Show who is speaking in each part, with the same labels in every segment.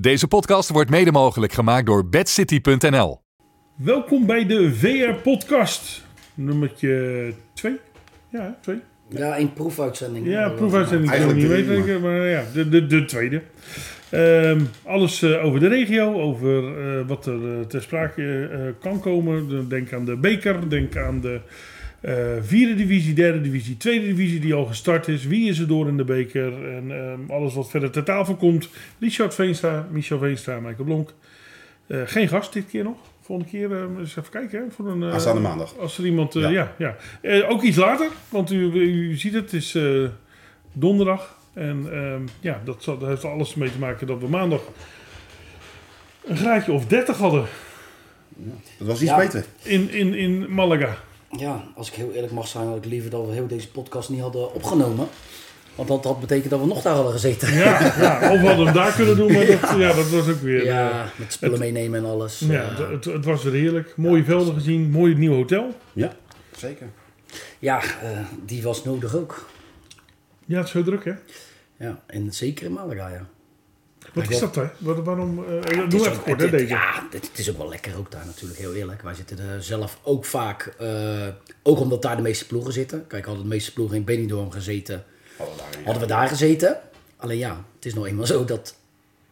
Speaker 1: Deze podcast wordt mede mogelijk gemaakt door bedcity.nl.
Speaker 2: Welkom bij de VR-podcast, nummertje 2. Ja, 2.
Speaker 3: Ja, één proefuitzending. Eh,
Speaker 2: Ja, proefuitzending. Ik wil niet
Speaker 4: eh, Eigenlijk drie,
Speaker 2: weten, maar ja, de, de, de tweede. Ehm, alles eh, over de regio, over eh, wat er eh, ter sprake eh, kan komen. De- Denk aan de beker, denk aan de eh, vierde divisie, derde divisie, tweede divisie die al gestart is. Wie is er door in de beker? En ehm, alles wat verder ter tafel komt. Richard Veenstra, Michel Veenstra, Michael Blonk. Eh, geen gast dit keer nog. Volgende keer eh, eens even kijken. Hè, voor een, eh,
Speaker 4: Aanstaande maandag.
Speaker 2: als er iemand... eh,
Speaker 4: Ja.
Speaker 2: ja. ja, Eh, ook iets later, want u, u ziet het, het is eh, donderdag. En ehm, ja, dat, zal, dat heeft alles mee te maken dat we maandag een graadje of 30 hadden
Speaker 4: Dat was iets
Speaker 3: Ja.
Speaker 4: beter.
Speaker 2: in, in, in Malaga.
Speaker 3: Ja, als ik heel eerlijk mag zijn, had ik liever dat we heel deze podcast niet hadden opgenomen. Want dat had betekend dat we nog daar hadden gezeten.
Speaker 2: Ja, ja, of we hadden hem daar kunnen doen, maar dat, ja, dat was ook weer... eh,
Speaker 3: Ja, met spullen meenemen en alles.
Speaker 2: ja,
Speaker 3: Ja,
Speaker 2: het, het, het was weer heerlijk. Mooie velden gezien, mooi nieuw hotel.
Speaker 4: Ja, zeker.
Speaker 3: ja eh, die was nodig ook.
Speaker 2: Ja, het is heel druk, hè?
Speaker 3: Ja, en zeker in Malaga, ja.
Speaker 2: Wat is dat, hè? Wat, waarom... eh doe
Speaker 3: Het is
Speaker 2: even
Speaker 3: ook-
Speaker 2: kort, hè,
Speaker 3: het- het-
Speaker 2: deze.
Speaker 3: Ja, het, het is ook wel lekker ook daar natuurlijk, heel eerlijk. Wij zitten er zelf ook vaak, eh, ook omdat daar de meeste ploegen zitten. Kijk, hadden de meeste ploegen in Benidorm gezeten,
Speaker 4: Hadden we daar, ja.
Speaker 3: hadden we daar gezeten. Alleen ja, het is nou eenmaal zo dat,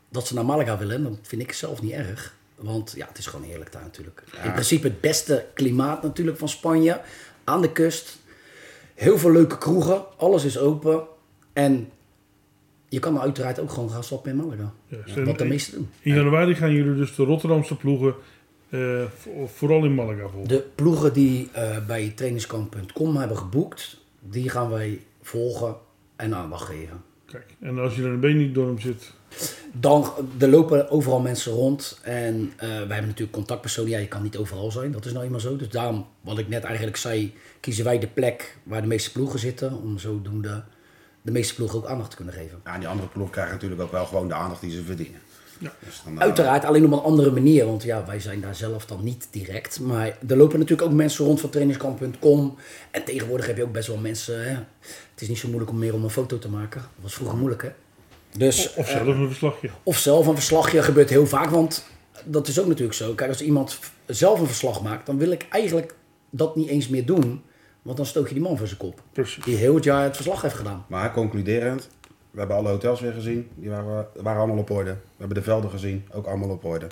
Speaker 3: dat ze naar Malaga willen. En Dat vind ik zelf niet erg. Want ja, het is gewoon heerlijk daar natuurlijk. In principe het beste klimaat natuurlijk van Spanje. Aan de kust. Heel veel leuke kroegen. Alles is open. En je kan er uiteraard ook gewoon gaan stoppen in Malaga.
Speaker 2: Ja,
Speaker 3: Wat de
Speaker 2: en-
Speaker 3: meesten doen.
Speaker 2: In januari gaan jullie dus de Rotterdamse ploegen eh, vo- vooral in Malaga volgen.
Speaker 3: De ploegen die eh, bij trainingskamp.com hebben geboekt, die gaan wij volgen en aandacht geven.
Speaker 2: Kijk, en als je er een been niet door hem zit,
Speaker 3: Dan, er lopen overal mensen rond en eh, wij hebben natuurlijk contactpersonen. Ja, je kan niet overal zijn, dat is nou eenmaal zo. Dus daarom, wat ik net eigenlijk zei, kiezen wij de plek waar de meeste ploegen zitten. Om zodoende de meeste ploegen ook aandacht te kunnen geven.
Speaker 4: Ja, en die andere ploeg krijgen natuurlijk ook wel gewoon de aandacht die ze verdienen. Dus dan, eh,
Speaker 3: Uiteraard, alleen op een andere manier. Want ja, wij zijn daar zelf dan niet direct. Maar er lopen natuurlijk ook mensen rond van trainingskamp.com. En tegenwoordig heb je ook best wel mensen. Hè. Het is niet zo moeilijk om meer om een foto te maken. Dat was vroeger moeilijk, hè? Dus,
Speaker 2: of
Speaker 3: eh,
Speaker 2: zelf een verslagje.
Speaker 3: of zelf een verslagje gebeurt heel vaak. Want dat is ook natuurlijk zo. Kijk, als iemand v- zelf een verslag maakt, dan wil ik eigenlijk dat niet eens meer doen. Want dan stoot je die man voor zijn kop.
Speaker 2: Precies.
Speaker 3: Die heel het jaar het verslag heeft gedaan.
Speaker 4: Maar concluderend, we hebben alle hotels weer gezien. Die waren, waren allemaal op orde. We hebben de velden gezien, ook allemaal op orde.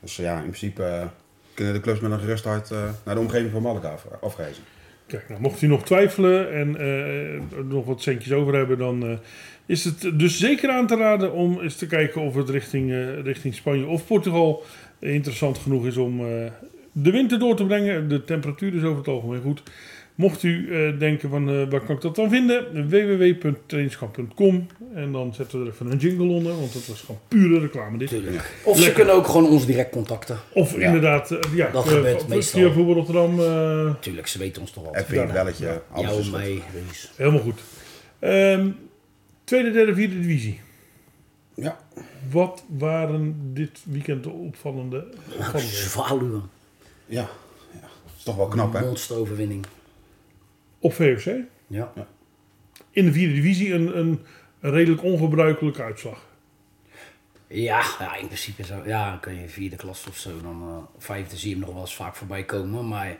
Speaker 4: Dus eh, ja, in principe eh, kunnen de clubs met een gerust hart eh, naar de omgeving van Malaga af, eh, afreizen.
Speaker 2: Kijk, nou, mocht u nog twijfelen en eh, nog wat centjes over hebben, dan eh, is het dus zeker aan te raden om eens te kijken of het richting, eh, richting Spanje of Portugal interessant genoeg is om eh, de winter door te brengen. De temperatuur is over het algemeen goed. Mocht u eh, denken van eh, waar kan ik dat dan vinden? www.trainingskamp.com en dan zetten we er even een jingle onder, want dat was gewoon pure reclame dit.
Speaker 3: Tuurlijk. Of ze kunnen ook gewoon ons direct contacten.
Speaker 2: Of inderdaad, eh, ja,
Speaker 3: Dat
Speaker 2: eh,
Speaker 3: gebeurt
Speaker 2: v-
Speaker 3: meestal.
Speaker 2: via Voetbal Rotterdam, eh,
Speaker 3: Tuurlijk, ze weten ons toch wel.
Speaker 4: Even een belletje, alles
Speaker 3: Jou,
Speaker 4: is goed.
Speaker 3: mij, Rees.
Speaker 2: helemaal goed. Ehm, tweede, derde, vierde divisie.
Speaker 4: Ja,
Speaker 2: Wat waren dit weekend de opvallende... opvallende
Speaker 3: Zwaluwen.
Speaker 4: ja, ja. is toch wel knap hè?
Speaker 3: Monsteroverwinning.
Speaker 2: op VFC?
Speaker 3: Ja.
Speaker 2: In de vierde divisie een, een, een redelijk ongebruikelijke uitslag.
Speaker 3: Ja, ja, in principe zo. Ja, dan kun je vierde klas of zo, dan eh, vijfde zie je hem nog wel eens vaak voorbij komen. Maar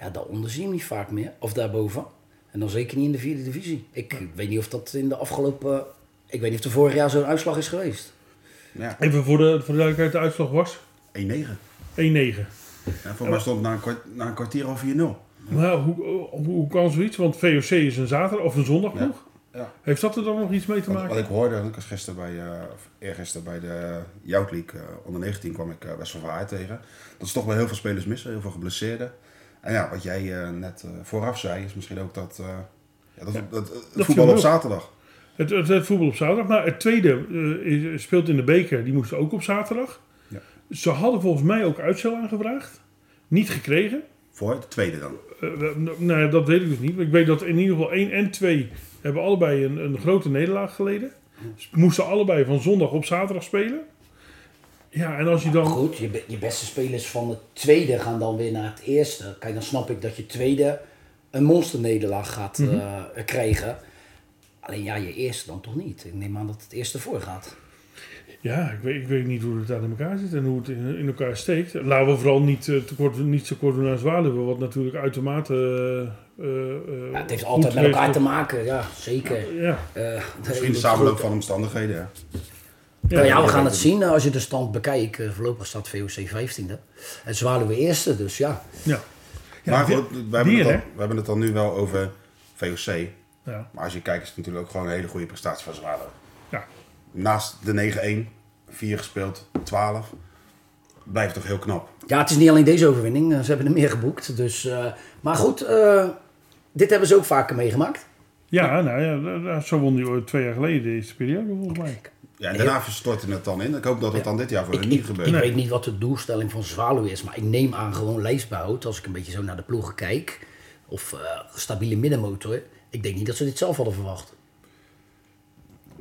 Speaker 3: ja, daaronder zie je hem niet vaak meer. Of daarboven. En dan zeker niet in de vierde divisie. Ik weet niet of dat in de afgelopen... Ik weet niet of er vorig jaar zo'n uitslag is geweest.
Speaker 4: Ja, 1-9.
Speaker 2: Even voor de, voor de duidelijkheid, de uitslag was 1-9.
Speaker 4: Ja, voor mij stond na een, kwart- na een kwartier al 4-0.
Speaker 2: Maar hoe, hoe, hoe kan zoiets? Want VOC is een zaterdag of een zondag nog.
Speaker 4: Ja.
Speaker 2: Heeft dat er dan nog iets mee te
Speaker 4: Wat, wat
Speaker 2: maken?
Speaker 4: ik hoorde, want ik was gisteren bij, eh, of eergisteren bij de Jout League eh, onder 19 kwam ik eh West van Vaart tegen. Dat is toch wel heel veel spelers missen, heel veel geblesseerden. En ja, wat jij eh, net eh, vooraf zei, is misschien ook dat, eh, ja, dat, dat, eh,
Speaker 2: viel
Speaker 4: voetbal
Speaker 2: me
Speaker 4: op
Speaker 2: op.
Speaker 4: zaterdag.
Speaker 2: Het, het, het voetbal op zaterdag. Maar het tweede eh, is- speelt in de beker. Die moest ook op zaterdag.
Speaker 4: Ja.
Speaker 2: Ze hadden volgens mij ook uitstel aangevraagd. Niet gekregen.
Speaker 4: Voor de tweede dan.
Speaker 2: Eh, we- n- nou, ja, dat weet ik dus niet. Maar Ik weet dat in ieder geval 1 en 2 hebben allebei een, een grote nederlaag geleden. Ze moesten allebei van zondag op zaterdag spelen. Ja, en als je dan...
Speaker 3: Goed, je, be- je beste spelers van het tweede gaan dan weer naar het eerste. Kijk, dan snap ik dat je tweede een monsternederlaag gaat
Speaker 4: Mhm.
Speaker 3: eh, krijgen. Alleen ja, je eerste dan toch niet. Ik neem aan dat het eerste voorgaat.
Speaker 2: Ja, ik weet, ik weet niet hoe het daar in elkaar zit en hoe het in, in elkaar steekt. Laten we vooral niet, eh, tekort, niet zo kort doen naar Zwaluwen, wat natuurlijk uitermate... eh, eh, eh,
Speaker 3: Ja, het heeft
Speaker 2: goed
Speaker 3: altijd met elkaar
Speaker 2: heeft-
Speaker 3: te maken, ja, zeker.
Speaker 2: Ja,
Speaker 3: Eh,
Speaker 4: Misschien de
Speaker 3: dat-
Speaker 4: samenloop van omstandigheden. Hè?
Speaker 2: ja,
Speaker 3: nou ja, we
Speaker 4: dat
Speaker 3: gaan
Speaker 4: weet
Speaker 3: het
Speaker 4: ik
Speaker 3: zien eh, als je de stand bekijkt. Eh, Voorlopig staat VOC 15e. En Zwaluwe eerste, dus ja.
Speaker 2: ja. Ja,
Speaker 4: maar
Speaker 2: die-
Speaker 4: goed, we hebben,
Speaker 2: die,
Speaker 4: het
Speaker 2: hè?
Speaker 4: dan, we hebben het dan nu wel over VOC.
Speaker 2: Ja.
Speaker 4: Maar als je kijkt is het natuurlijk ook gewoon een hele goede prestatie van Zwaluw.
Speaker 2: Ja.
Speaker 4: Naast de 9-1, 4 gespeeld, 12. Blijft toch heel knap.
Speaker 3: Ja, het is niet alleen deze overwinning. eh, Ze hebben er meer geboekt. Dus, eh, maar goed, eh, dit hebben ze ook vaker meegemaakt.
Speaker 2: Ja, nou ja, da- da- zo won die ooit twee jaar geleden de eerste periode volgens mij.
Speaker 4: Ja, en daarna stortte het dan in. Ik hoop dat het dan dit jaar voor
Speaker 3: Ik,
Speaker 4: hen
Speaker 3: ik-
Speaker 4: niet gebeurt.
Speaker 3: ik weet niet wat de doelstelling van Zwaluwe is, maar ik neem aan gewoon lijfsbehoud. Als ik een beetje zo naar de ploegen kijk, of eh, stabiele middenmotor. Ik denk niet dat ze dit zelf hadden verwacht.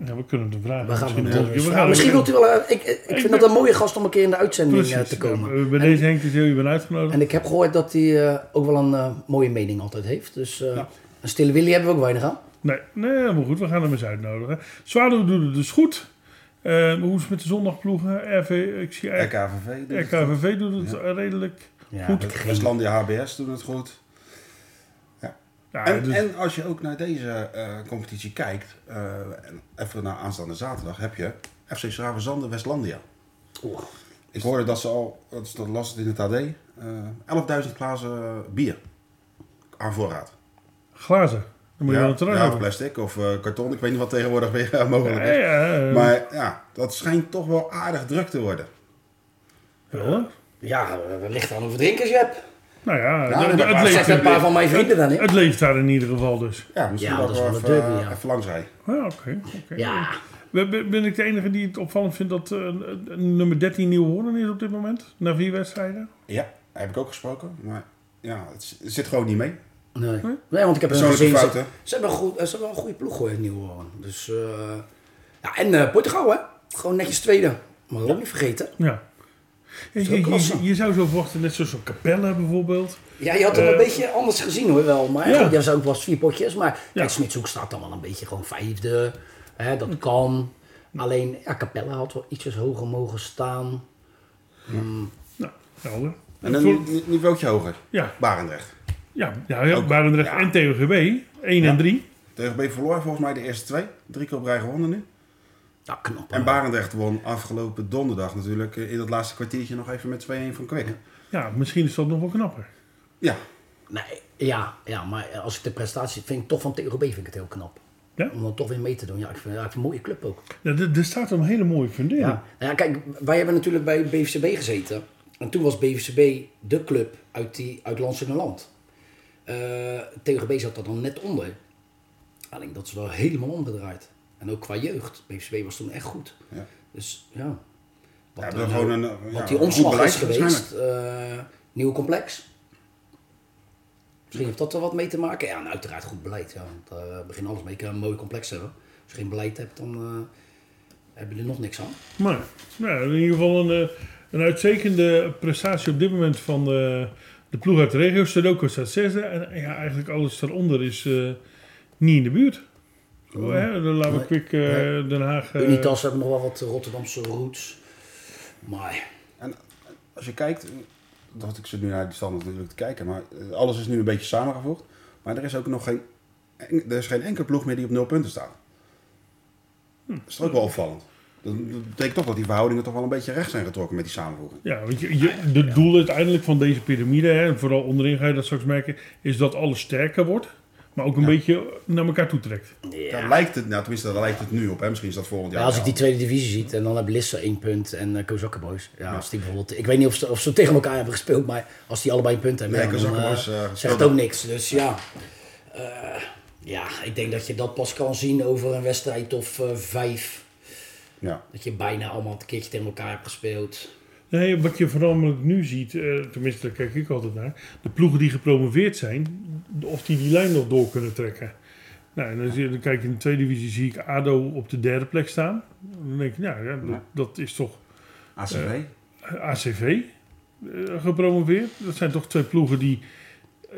Speaker 2: Ja, we kunnen de vraag
Speaker 3: We gaan
Speaker 2: misschien
Speaker 3: hem
Speaker 2: nog-
Speaker 3: doen.
Speaker 2: Ja, we
Speaker 3: Ja,
Speaker 2: gaan-
Speaker 3: misschien
Speaker 2: we
Speaker 3: wilt u wel. eh, ik, ik vind dat een mooie gast om een keer in de uitzending eh,
Speaker 2: precies.
Speaker 3: te komen.
Speaker 2: Ja, bij deze Henk is heel je bent uitgenodigd.
Speaker 3: En ik heb gehoord dat hij eh, ook wel een eh, mooie mening altijd heeft. Dus eh, een stille Willy hebben we ook weinig aan.
Speaker 2: Nee, nee, helemaal goed. We gaan hem eens uitnodigen. Zwaluw doet het dus goed. Eh, hoe is het met de zondagploegen? RV, ik zie RK,
Speaker 4: RKVV. doet het.
Speaker 2: RKVV doet het eh, redelijk
Speaker 3: Ja,
Speaker 2: goed.
Speaker 3: ik- Geen-
Speaker 4: dus Westlandia HBS doet het goed.
Speaker 2: Ja,
Speaker 4: en,
Speaker 2: dus-
Speaker 4: en als je ook naar deze eh, competitie kijkt, eh, en even naar aanstaande zaterdag, heb je FC Schravenzanden Westlandia.
Speaker 3: Oeh.
Speaker 4: Ik hoorde dat ze al, dat is- dat las het in het AD, eh, 11.000 glazen bier aan voorraad.
Speaker 2: glazen. Dan moet je wel een terras
Speaker 4: ja, of
Speaker 2: hebben.
Speaker 4: plastic of eh, karton, ik weet niet wat tegenwoordig weer eh, mogelijk
Speaker 2: Ja,
Speaker 4: is.
Speaker 2: ja, eh,
Speaker 4: Maar ja, dat schijnt toch wel aardig druk te worden.
Speaker 2: wel, hè?
Speaker 3: Ja, eh, wellicht aan hoeveel drinkers je hebt.
Speaker 2: Nou ja,
Speaker 4: Nou,
Speaker 2: dat-
Speaker 4: dat
Speaker 2: het,
Speaker 4: was-
Speaker 3: Zegt
Speaker 2: leeft,
Speaker 3: een paar van mijn vrienden dan, hè?
Speaker 2: het leeft daar in ieder geval dus.
Speaker 4: Ja, misschien
Speaker 3: Ja,
Speaker 4: dat
Speaker 3: dat is
Speaker 4: we
Speaker 3: wel een
Speaker 4: even,
Speaker 3: derby,
Speaker 4: eh,
Speaker 3: ja.
Speaker 4: even langs rijden.
Speaker 2: Ja, oké. oké.
Speaker 3: Ja,
Speaker 2: Ben, ben- ben ik de enige die het opvallend vindt dat eh, eh, nummer 13 nieuw horen is op dit moment? Na vier wedstrijden?
Speaker 4: Ja, heb ik ook gesproken, maar ja, het z- het zit gewoon niet mee.
Speaker 3: nee. Nee, want ik heb
Speaker 4: Persoonlijke
Speaker 3: gezien,
Speaker 4: fouten.
Speaker 3: Ze, ze hebben een goed, eh, ze hebben wel een goede ploeg hoor, in Nieuw-Hoorn. Dus, eh, ja, en eh, Portugal, hè? Gewoon netjes tweede. Mag ik ook niet vergeten.
Speaker 2: Ja. Je,
Speaker 3: ook
Speaker 2: je-
Speaker 3: klasse.
Speaker 2: je zou zo verwachten, net zoals een Capella bijvoorbeeld.
Speaker 3: Ja, je had hem
Speaker 2: Eh,
Speaker 3: een beetje anders gezien hoor wel. Maar
Speaker 2: ja.
Speaker 3: ja, goed, ook was vier potjes. Maar
Speaker 2: Ja.
Speaker 3: ja. Smitshoek staat dan wel een beetje gewoon vijfde. Hè,
Speaker 2: Mm.
Speaker 3: dat kan. Alleen, ja, Capella had wel ietsjes hoger mogen staan.
Speaker 2: Nou, helder.
Speaker 4: En een
Speaker 2: Voor-
Speaker 4: ni- niveautje hoger,
Speaker 2: ja,
Speaker 4: Barendrecht.
Speaker 2: ja, ja, ja Barendrecht en TOGB, 1 en 3.
Speaker 4: TGB verloor volgens mij de eerste twee. Drie keer op rij gewonnen nu.
Speaker 3: Ja, knap.
Speaker 4: En
Speaker 3: hoor.
Speaker 4: Barendrecht won afgelopen donderdag natuurlijk eh, in dat laatste kwartiertje nog even met 2-1 van Kwik.
Speaker 2: Ja, misschien is dat nog wel knapper.
Speaker 4: Ja,
Speaker 3: Nee, ja, ja, maar als ik de prestatie vind, ik toch van TOB vind ik het heel knap.
Speaker 2: Ja?
Speaker 3: Om dan toch weer mee te doen. Ja, ik vind, ja, ik vind het een mooie club ook.
Speaker 2: Ja, er, er staat een hele mooie fundering.
Speaker 3: Ja. Nou ja, kijk, wij hebben natuurlijk bij BVCB gezeten. En toen was BVCB de club uit, die, uit Land. Eh TGB zat er dan net onder. Alleen dat is wel helemaal omgedraaid. En ook qua jeugd. BVCB was toen echt goed.
Speaker 4: Ja.
Speaker 3: Dus ja. Wat,
Speaker 4: ja,
Speaker 3: er
Speaker 4: dat
Speaker 3: nou-
Speaker 4: gewoon een, eh, ja,
Speaker 3: wat
Speaker 4: een
Speaker 3: die
Speaker 4: goed
Speaker 3: omslag
Speaker 4: beleid
Speaker 3: is geweest.
Speaker 4: waarschijnlijk.
Speaker 3: eh, nieuw complex. Misschien heeft dat er wat mee te maken. Ja, en uiteraard goed beleid. Ja, want eh, we beginnen alles mee. Je kan een mooi complex hebben. Als je geen beleid hebt, dan eh, heb je er nog niks aan.
Speaker 2: Maar nou, in ieder geval een, eh, een uitstekende prestatie op dit moment van de, de ploeg uit de regio. Sudoku staat zesde en ja, eigenlijk alles daaronder is eh, niet in de buurt. Oh, hè, dan laten we
Speaker 3: Nee.
Speaker 2: kwik eh, Den Haag... eh,
Speaker 3: Unitas hebben nog wel wat Rotterdamse roots. Maar
Speaker 4: En als je kijkt, eh, dat ik zit nu naar die stand natuurlijk te kijken, maar eh, alles is nu een beetje samengevoegd. Maar er is ook nog geen, en- er is geen enkele ploeg meer die op nul punten staat. Dat is toch ook wel opvallend. Dat dat betekent toch dat die verhoudingen toch wel een beetje recht zijn getrokken met die samenvoeging.
Speaker 2: Ja, want je, je, de doel uiteindelijk van deze piramide, hè, en vooral onderin ga je dat straks merken, is dat alles sterker wordt, maar ook een beetje naar elkaar toe trekt.
Speaker 4: Daar lijkt het, nou, tenminste, daar lijkt het nu op. Hè? Misschien is dat volgend jaar.
Speaker 3: ja, als ik
Speaker 4: wel.
Speaker 3: die tweede divisie ziet en dan heb Lisse één punt en uh, Kozakkenboys. Ja, als die bijvoorbeeld, ik weet niet of ze, of ze tegen elkaar hebben gespeeld, maar als die allebei een punt hebben,
Speaker 4: Nee,
Speaker 3: ja, dan
Speaker 4: Kozakkenboys,
Speaker 3: eh,
Speaker 4: eh,
Speaker 3: zegt
Speaker 4: speelde-
Speaker 3: ook niks. Dus ja, Eh, ja, ik denk dat je dat pas kan zien over een wedstrijd of eh, vijf.
Speaker 4: Ja.
Speaker 3: Dat je bijna allemaal een keertje tegen elkaar hebt gespeeld.
Speaker 2: Nee, wat je voornamelijk nu ziet, eh, tenminste daar kijk ik altijd naar, de ploegen die gepromoveerd zijn, of die die lijn nog door kunnen trekken. Nou, en dan, zie je, dan kijk je in de tweede divisie, zie ik ADO op de derde plek staan. Dan denk ik, nou ja, dat, dat is toch
Speaker 4: ACB.
Speaker 2: ACV eh, gepromoveerd. Dat zijn toch twee ploegen die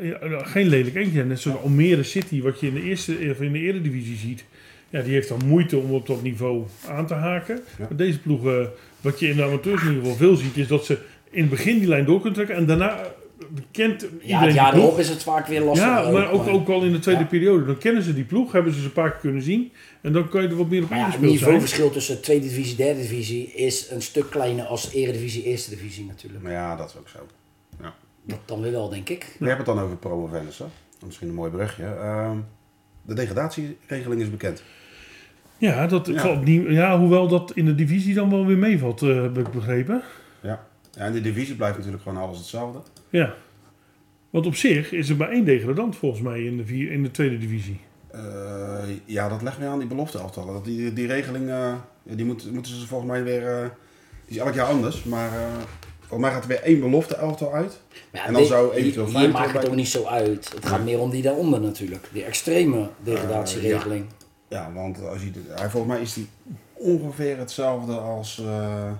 Speaker 2: nou, eh, geen lelijk eentje zijn. Net zoals Almere City, wat je in de, eerste, of in de eredivisie ziet. ja, die heeft dan moeite om op dat niveau aan te haken.
Speaker 4: Ja.
Speaker 2: Maar deze ploegen, wat je in de amateurs in ieder geval veel ziet, is dat ze in het begin die lijn door kunnen trekken en daarna eh, kent iedereen
Speaker 3: Ja, het
Speaker 2: die
Speaker 3: jaar
Speaker 2: ploeg.
Speaker 3: erop is het vaak weer lastig.
Speaker 2: Ja, maar ook, ook al in de tweede
Speaker 3: Ja.
Speaker 2: periode. Dan kennen ze die ploeg, hebben ze ze een paar keer kunnen zien. En dan kan je er wat meer op
Speaker 3: Maar ja, het
Speaker 2: ingespeeld zijn.
Speaker 3: niveauverschil tussen tweede divisie en derde divisie is een stuk kleiner als eredivisie eerste divisie natuurlijk.
Speaker 4: Maar ja, dat is ook zo.
Speaker 3: Dat dan weer wel, denk ik.
Speaker 4: We hebben het dan over promovendus, hè? Misschien een mooi brugje. Ehm, de degradatieregeling is bekend.
Speaker 2: Ja, dat
Speaker 4: Ja.
Speaker 2: valt niet. Ja, hoewel dat in de divisie dan wel weer meevalt, eh, heb ik begrepen.
Speaker 4: Ja. ja. En de divisie blijft natuurlijk gewoon alles hetzelfde.
Speaker 2: Ja. Want op zich is er maar één degradant volgens mij in de, vier, in de tweede divisie.
Speaker 4: Eh, ja, dat legt weer aan die belofte elftallen. Dat die, die regeling, eh, ja, die moet, moeten ze volgens mij weer... eh, die is elk jaar anders, maar... eh volgens mij gaat er weer één belofte elftal uit.
Speaker 3: Maar ja,
Speaker 4: En dan
Speaker 3: dit-
Speaker 4: zou eventueel
Speaker 3: Hier, hier
Speaker 4: Feyenoord
Speaker 3: maakt het
Speaker 4: erbij-
Speaker 3: ook niet zo uit. Het gaat meer om die daaronder natuurlijk. Die extreme degradatieregeling.
Speaker 4: Eh, Ja, want als je, de- hij, volgens mij is die ongeveer hetzelfde als, eh,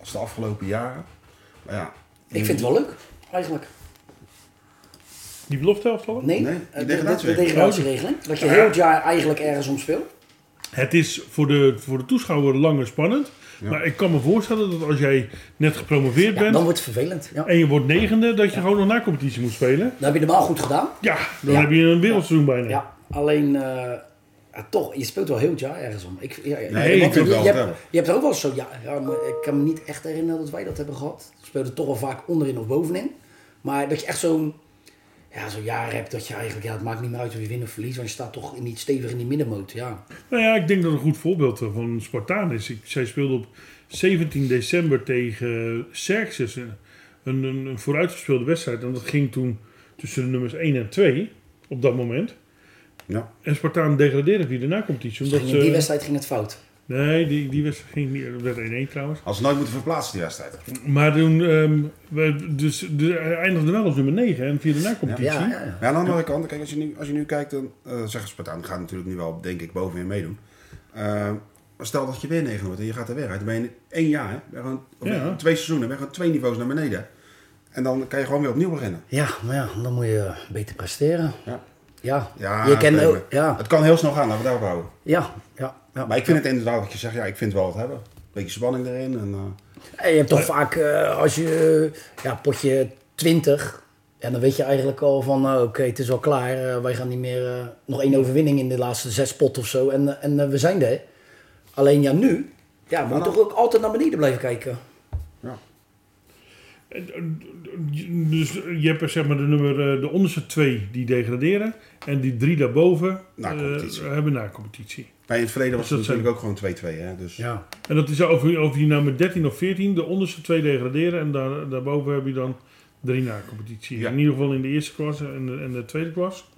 Speaker 4: als de afgelopen jaren. Maar ja,
Speaker 3: Ik vind het wel leuk, eigenlijk.
Speaker 2: Die belofte elftallen?
Speaker 3: Nee,
Speaker 4: Nee, die
Speaker 3: eh, de- de, de
Speaker 4: degradatieregeling.
Speaker 3: degradatieregeling. Dat je heel het jaar eigenlijk ergens om speelt.
Speaker 2: Het is voor de, voor de toeschouwer langer spannend. Maar ik kan me voorstellen dat als jij net gepromoveerd
Speaker 3: Ja,
Speaker 2: bent
Speaker 3: dan wordt het vervelend. Ja.
Speaker 2: en je wordt negende, dat je gewoon nog na competitie moet spelen.
Speaker 3: Dan heb je normaal goed gedaan.
Speaker 2: Ja, dan
Speaker 3: Ja.
Speaker 2: heb je een wereldseizoen bijna.
Speaker 3: Ja, alleen eh, ja, toch, je speelt wel heel het jaar ergens om. Ik, ja, ja,
Speaker 4: Nee,
Speaker 3: want
Speaker 4: ik ook
Speaker 3: je,
Speaker 4: wel,
Speaker 3: je,
Speaker 4: wel.
Speaker 3: hebt, je hebt er ook wel zo, ja, ja, maar ik kan me niet echt herinneren dat wij dat hebben gehad. We speelden toch wel vaak onderin of bovenin. Maar dat je echt zo'n ja, zo'n jaar hebt dat je eigenlijk, ja, het maakt niet meer uit of je wint of verliest, want je staat toch niet stevig in die middenmoot. Ja.
Speaker 2: Nou ja, ik denk dat een goed voorbeeld eh, van Spartaan is. Ik, zij speelde op 17 december tegen Serxes. Een, een, een vooruitgespeelde wedstrijd. En dat ging toen tussen de nummers 1 en 2 op dat moment.
Speaker 4: ja.
Speaker 2: En Spartaan degradeerde via de nacompetitie.
Speaker 3: Dus
Speaker 2: Omdat
Speaker 3: ging in die
Speaker 2: ze-
Speaker 3: wedstrijd ging het fout.
Speaker 2: Nee, die, die wedstrijd ging niet. Dat werd 1-1 trouwens.
Speaker 4: Als ze nooit moeten verplaatsen die wedstrijd.
Speaker 2: Maar toen ehm, we, dus, de, hij eindigde wel als nummer 9 en via de nacompetitie.
Speaker 3: Ja, ja, ja.
Speaker 4: Maar aan de andere kant, kijk, als je nu, als je nu kijkt, dan eh zeggen Spartaan gaat natuurlijk nu wel, denk ik, bovenin meedoen. Eh, maar stel dat je weer negen wordt en je gaat er weer uit, dan ben je in één jaar, hè, ben je gewoon, of
Speaker 2: Ja.
Speaker 4: in twee seizoenen, ben je gewoon twee niveaus naar beneden. En dan kan je gewoon weer opnieuw beginnen.
Speaker 3: Ja, maar ja, dan moet je eh, beter presteren.
Speaker 4: Ja.
Speaker 3: Ja,
Speaker 4: Ja,
Speaker 3: je kent
Speaker 4: nee,
Speaker 3: ook.
Speaker 4: maar
Speaker 3: Ja,
Speaker 4: Het kan heel snel gaan, laten we daarop houden.
Speaker 3: ja, ja, ja.
Speaker 4: Maar ik vind het inderdaad, wat je zegt, ja, ik vind het wel wat hebben. Beetje spanning erin. En, eh,
Speaker 3: En je hebt toch vaak, eh, als je eh, ja, potje 20, en dan weet je eigenlijk al van, nou, oké, het is al klaar. eh, wij gaan niet meer, eh, nog één overwinning in de laatste zes pot of zo. En, eh, en eh, we zijn er. Alleen ja, nu, ja, we moeten toch ook altijd naar beneden blijven kijken.
Speaker 4: ja.
Speaker 2: Dus je hebt er, zeg maar de, nummer, eh, de onderste twee die degraderen. En die drie daarboven
Speaker 4: Na
Speaker 2: eh,
Speaker 4: competitie.
Speaker 2: hebben nacompetitie.
Speaker 4: Maar in het verleden was
Speaker 2: Dus
Speaker 4: het
Speaker 2: dat
Speaker 4: natuurlijk ook gewoon 2-2, hè. Dus,
Speaker 3: Ja.
Speaker 2: En dat is of je, of je nou met 13 of 14 de onderste twee degraderen. En daar, daarboven heb je dan drie nacompetitie.
Speaker 4: Ja.
Speaker 2: In ieder geval in de eerste klas en de, en de tweede klas.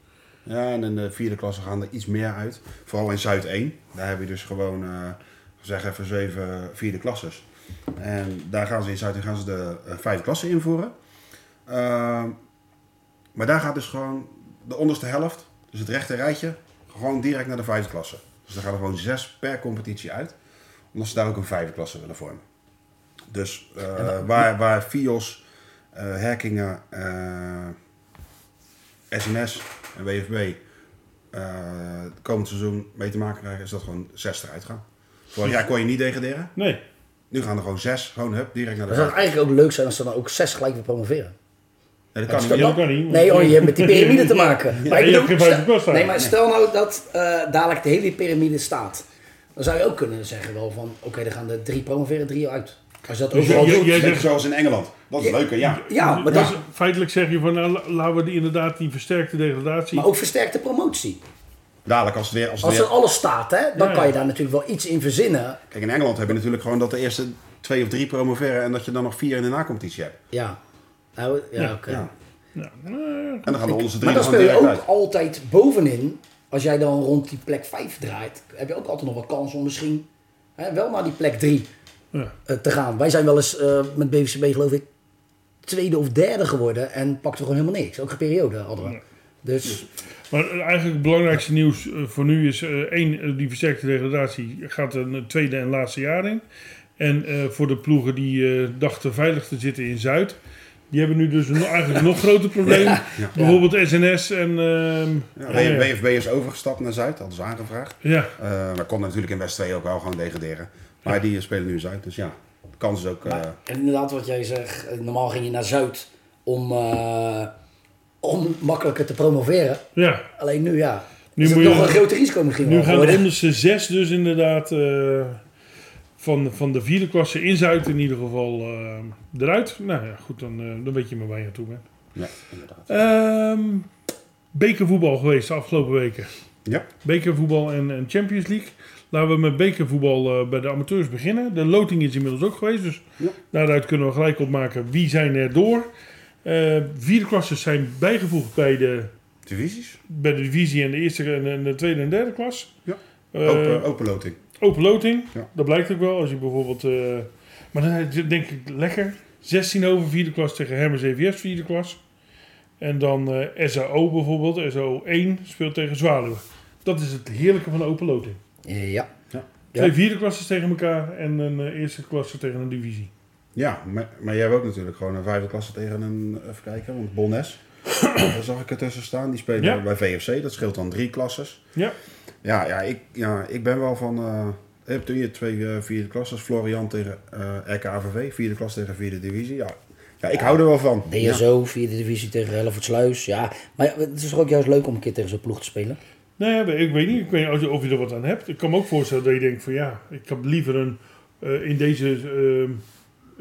Speaker 4: Ja, en in de vierde klasse gaan er iets meer uit. Vooral in Zuid 1. Daar heb je dus gewoon, eh, zeg even, zeven vierde klasses. En daar gaan ze in Zuid 1 gaan ze de eh, vijfde klasse invoeren. Ehm, maar daar gaat dus gewoon de onderste helft, dus het rechte rijtje, gewoon direct naar de vijfde klasse. Dus er gaan er gewoon zes per competitie uit. Omdat ze daar ook een vijfde klasse willen vormen. Dus eh, waar, waar Fios, eh, Herkingen, eh, SNS en WFB eh, het komend seizoen mee te maken krijgen, is dat gewoon zes eruit gaan. Vorig jaar kon je niet degraderen.
Speaker 2: Nee.
Speaker 4: Nu gaan er gewoon zes, gewoon hup, direct naar de
Speaker 3: Dat zou
Speaker 4: vijfde.
Speaker 3: eigenlijk ook leuk zijn als ze dan ook zes gelijk weer promoveren.
Speaker 4: Nee, dat kan
Speaker 3: Dat
Speaker 4: niet.
Speaker 2: dat kan niet, want-
Speaker 3: Nee, hoor, je hebt met die piramide te maken. Maar ik
Speaker 2: je hebt
Speaker 3: bedoel,
Speaker 2: geen
Speaker 3: stel-
Speaker 2: vijfde klas
Speaker 3: nee, maar
Speaker 2: eigenlijk.
Speaker 3: stel nou dat eh, dadelijk de hele piramide staat. Dan zou je ook kunnen zeggen wel van, oké, dan gaan er drie promoveren, drie uit. Als je dat
Speaker 2: Dus
Speaker 3: overal
Speaker 2: je- je-
Speaker 3: doet.
Speaker 2: jij
Speaker 4: Net
Speaker 2: zegt-
Speaker 4: zoals in Engeland. Dat is leuker, ja.
Speaker 3: Ja, maar,
Speaker 2: Dus
Speaker 3: dat,
Speaker 2: feitelijk zeg je van nou, la- laten we die, inderdaad die versterkte degradatie.
Speaker 3: maar ook versterkte promotie.
Speaker 4: Dadelijk als het weer... Als het
Speaker 3: Als er
Speaker 4: weer...
Speaker 3: alles staat, hè, dan
Speaker 2: Ja,
Speaker 3: kan je
Speaker 2: ja.
Speaker 3: daar natuurlijk wel iets in verzinnen.
Speaker 4: Kijk, in Engeland heb je natuurlijk gewoon dat de eerste twee of drie promoveren en dat je dan nog vier in de nacompetitie hebt.
Speaker 3: Ja, nou, ja,
Speaker 2: Ja,
Speaker 3: oké.
Speaker 4: Ja.
Speaker 2: Nou, eh,
Speaker 4: En dan gaan de onderste drie
Speaker 3: Maar
Speaker 4: er
Speaker 3: dan
Speaker 4: gewoon
Speaker 3: speel je
Speaker 4: direct
Speaker 3: ook
Speaker 4: uit.
Speaker 3: altijd bovenin. Als jij dan rond die plek 5 draait, heb je ook altijd nog wel kans om misschien hè, wel naar die plek 3
Speaker 2: ja.
Speaker 3: te gaan. Wij zijn wel eens eh, met BVCB geloof ik tweede of derde geworden en pakten we gewoon helemaal niks. Ook een periode hadden we. Dus
Speaker 2: Maar eh, eigenlijk het belangrijkste nieuws eh, voor nu is: eh één, eh, die versterkte degradatie gaat een eh, tweede en laatste jaar in. En eh, voor de ploegen die eh, dachten veilig te zitten in Zuid, Die hebben nu dus een- eigenlijk een nog groter probleem. Bijvoorbeeld SNS en... ehm ja,
Speaker 4: Ja,
Speaker 2: ja.
Speaker 4: WFB is overgestapt naar Zuid, hadden ze aangevraagd.
Speaker 2: ja,
Speaker 4: Eh, maar kon natuurlijk in West 2 ook wel gewoon degraderen. Maar die spelen nu in Zuid, dus ja, de kans is ook... eh,
Speaker 3: Maar inderdaad, wat jij zegt, eh, normaal ging je naar Zuid om, eh, om makkelijker te promoveren.
Speaker 2: ja.
Speaker 3: Alleen nu ja,
Speaker 2: Nu
Speaker 3: is het
Speaker 2: moet je-
Speaker 3: nog een groter risico misschien
Speaker 2: Nu
Speaker 3: wel
Speaker 2: gaan de
Speaker 3: geworden.
Speaker 2: onderste zes dus inderdaad eh, van, van de vierde klasse in Zuid in ieder geval eh, eruit. Nou ja, goed, dan, eh, dan weet je maar waar je aan toe bent.
Speaker 4: ja, inderdaad.
Speaker 2: Ehm, bekervoetbal geweest de afgelopen weken.
Speaker 4: Ja,
Speaker 2: Bekervoetbal en, en Champions League. Laten we met bekervoetbal eh, bij de amateurs beginnen. De loting is inmiddels ook geweest, dus
Speaker 4: Ja.
Speaker 2: daaruit kunnen we gelijk opmaken wie zijn er door. Eh vierde klassen zijn bijgevoegd bij de,
Speaker 4: divisies.
Speaker 2: bij de divisie en de eerste en, en de tweede en derde klas.
Speaker 4: Ja.
Speaker 2: Eh,
Speaker 4: open, open loting.
Speaker 2: Open loting,
Speaker 4: Ja.
Speaker 2: dat blijkt ook wel. Als je bijvoorbeeld, eh, maar dan denk ik lekker, 16 over vierde klas tegen Hermes EVS vierde klas. En dan eh, SAO bijvoorbeeld, SAO 1 speelt tegen Zwaluwe. Dat is het heerlijke van de open loting.
Speaker 3: Ja, Ja.
Speaker 2: Twee vierde klassen tegen elkaar en een eh, eerste klasse tegen een divisie.
Speaker 4: Ja, maar, maar jij hebt ook natuurlijk gewoon een vijfde klasse tegen een, eh, even kijken, want Bonnes, daar zag ik er tussen staan. Die spelen
Speaker 2: Ja.
Speaker 4: bij VFC, dat scheelt dan drie klasses.
Speaker 2: Ja,
Speaker 4: Ja, ja, ik, ja ik ben wel van, eh, je hebt hier twee eh, vierde klasses, Florian tegen eh RKVV, vierde klas tegen vierde divisie. Ja, ja ik hou er wel van. Ja.
Speaker 3: DSO, vierde divisie tegen Hellevoetsluis. Ja, maar ja, het is toch ook juist leuk om een keer tegen zo'n ploeg te spelen.
Speaker 2: nou ja, ik weet niet, ik weet niet of je- of je er wat aan hebt. Ik kan me ook voorstellen dat je denkt van ja, ik heb liever een, eh, in deze... ehm,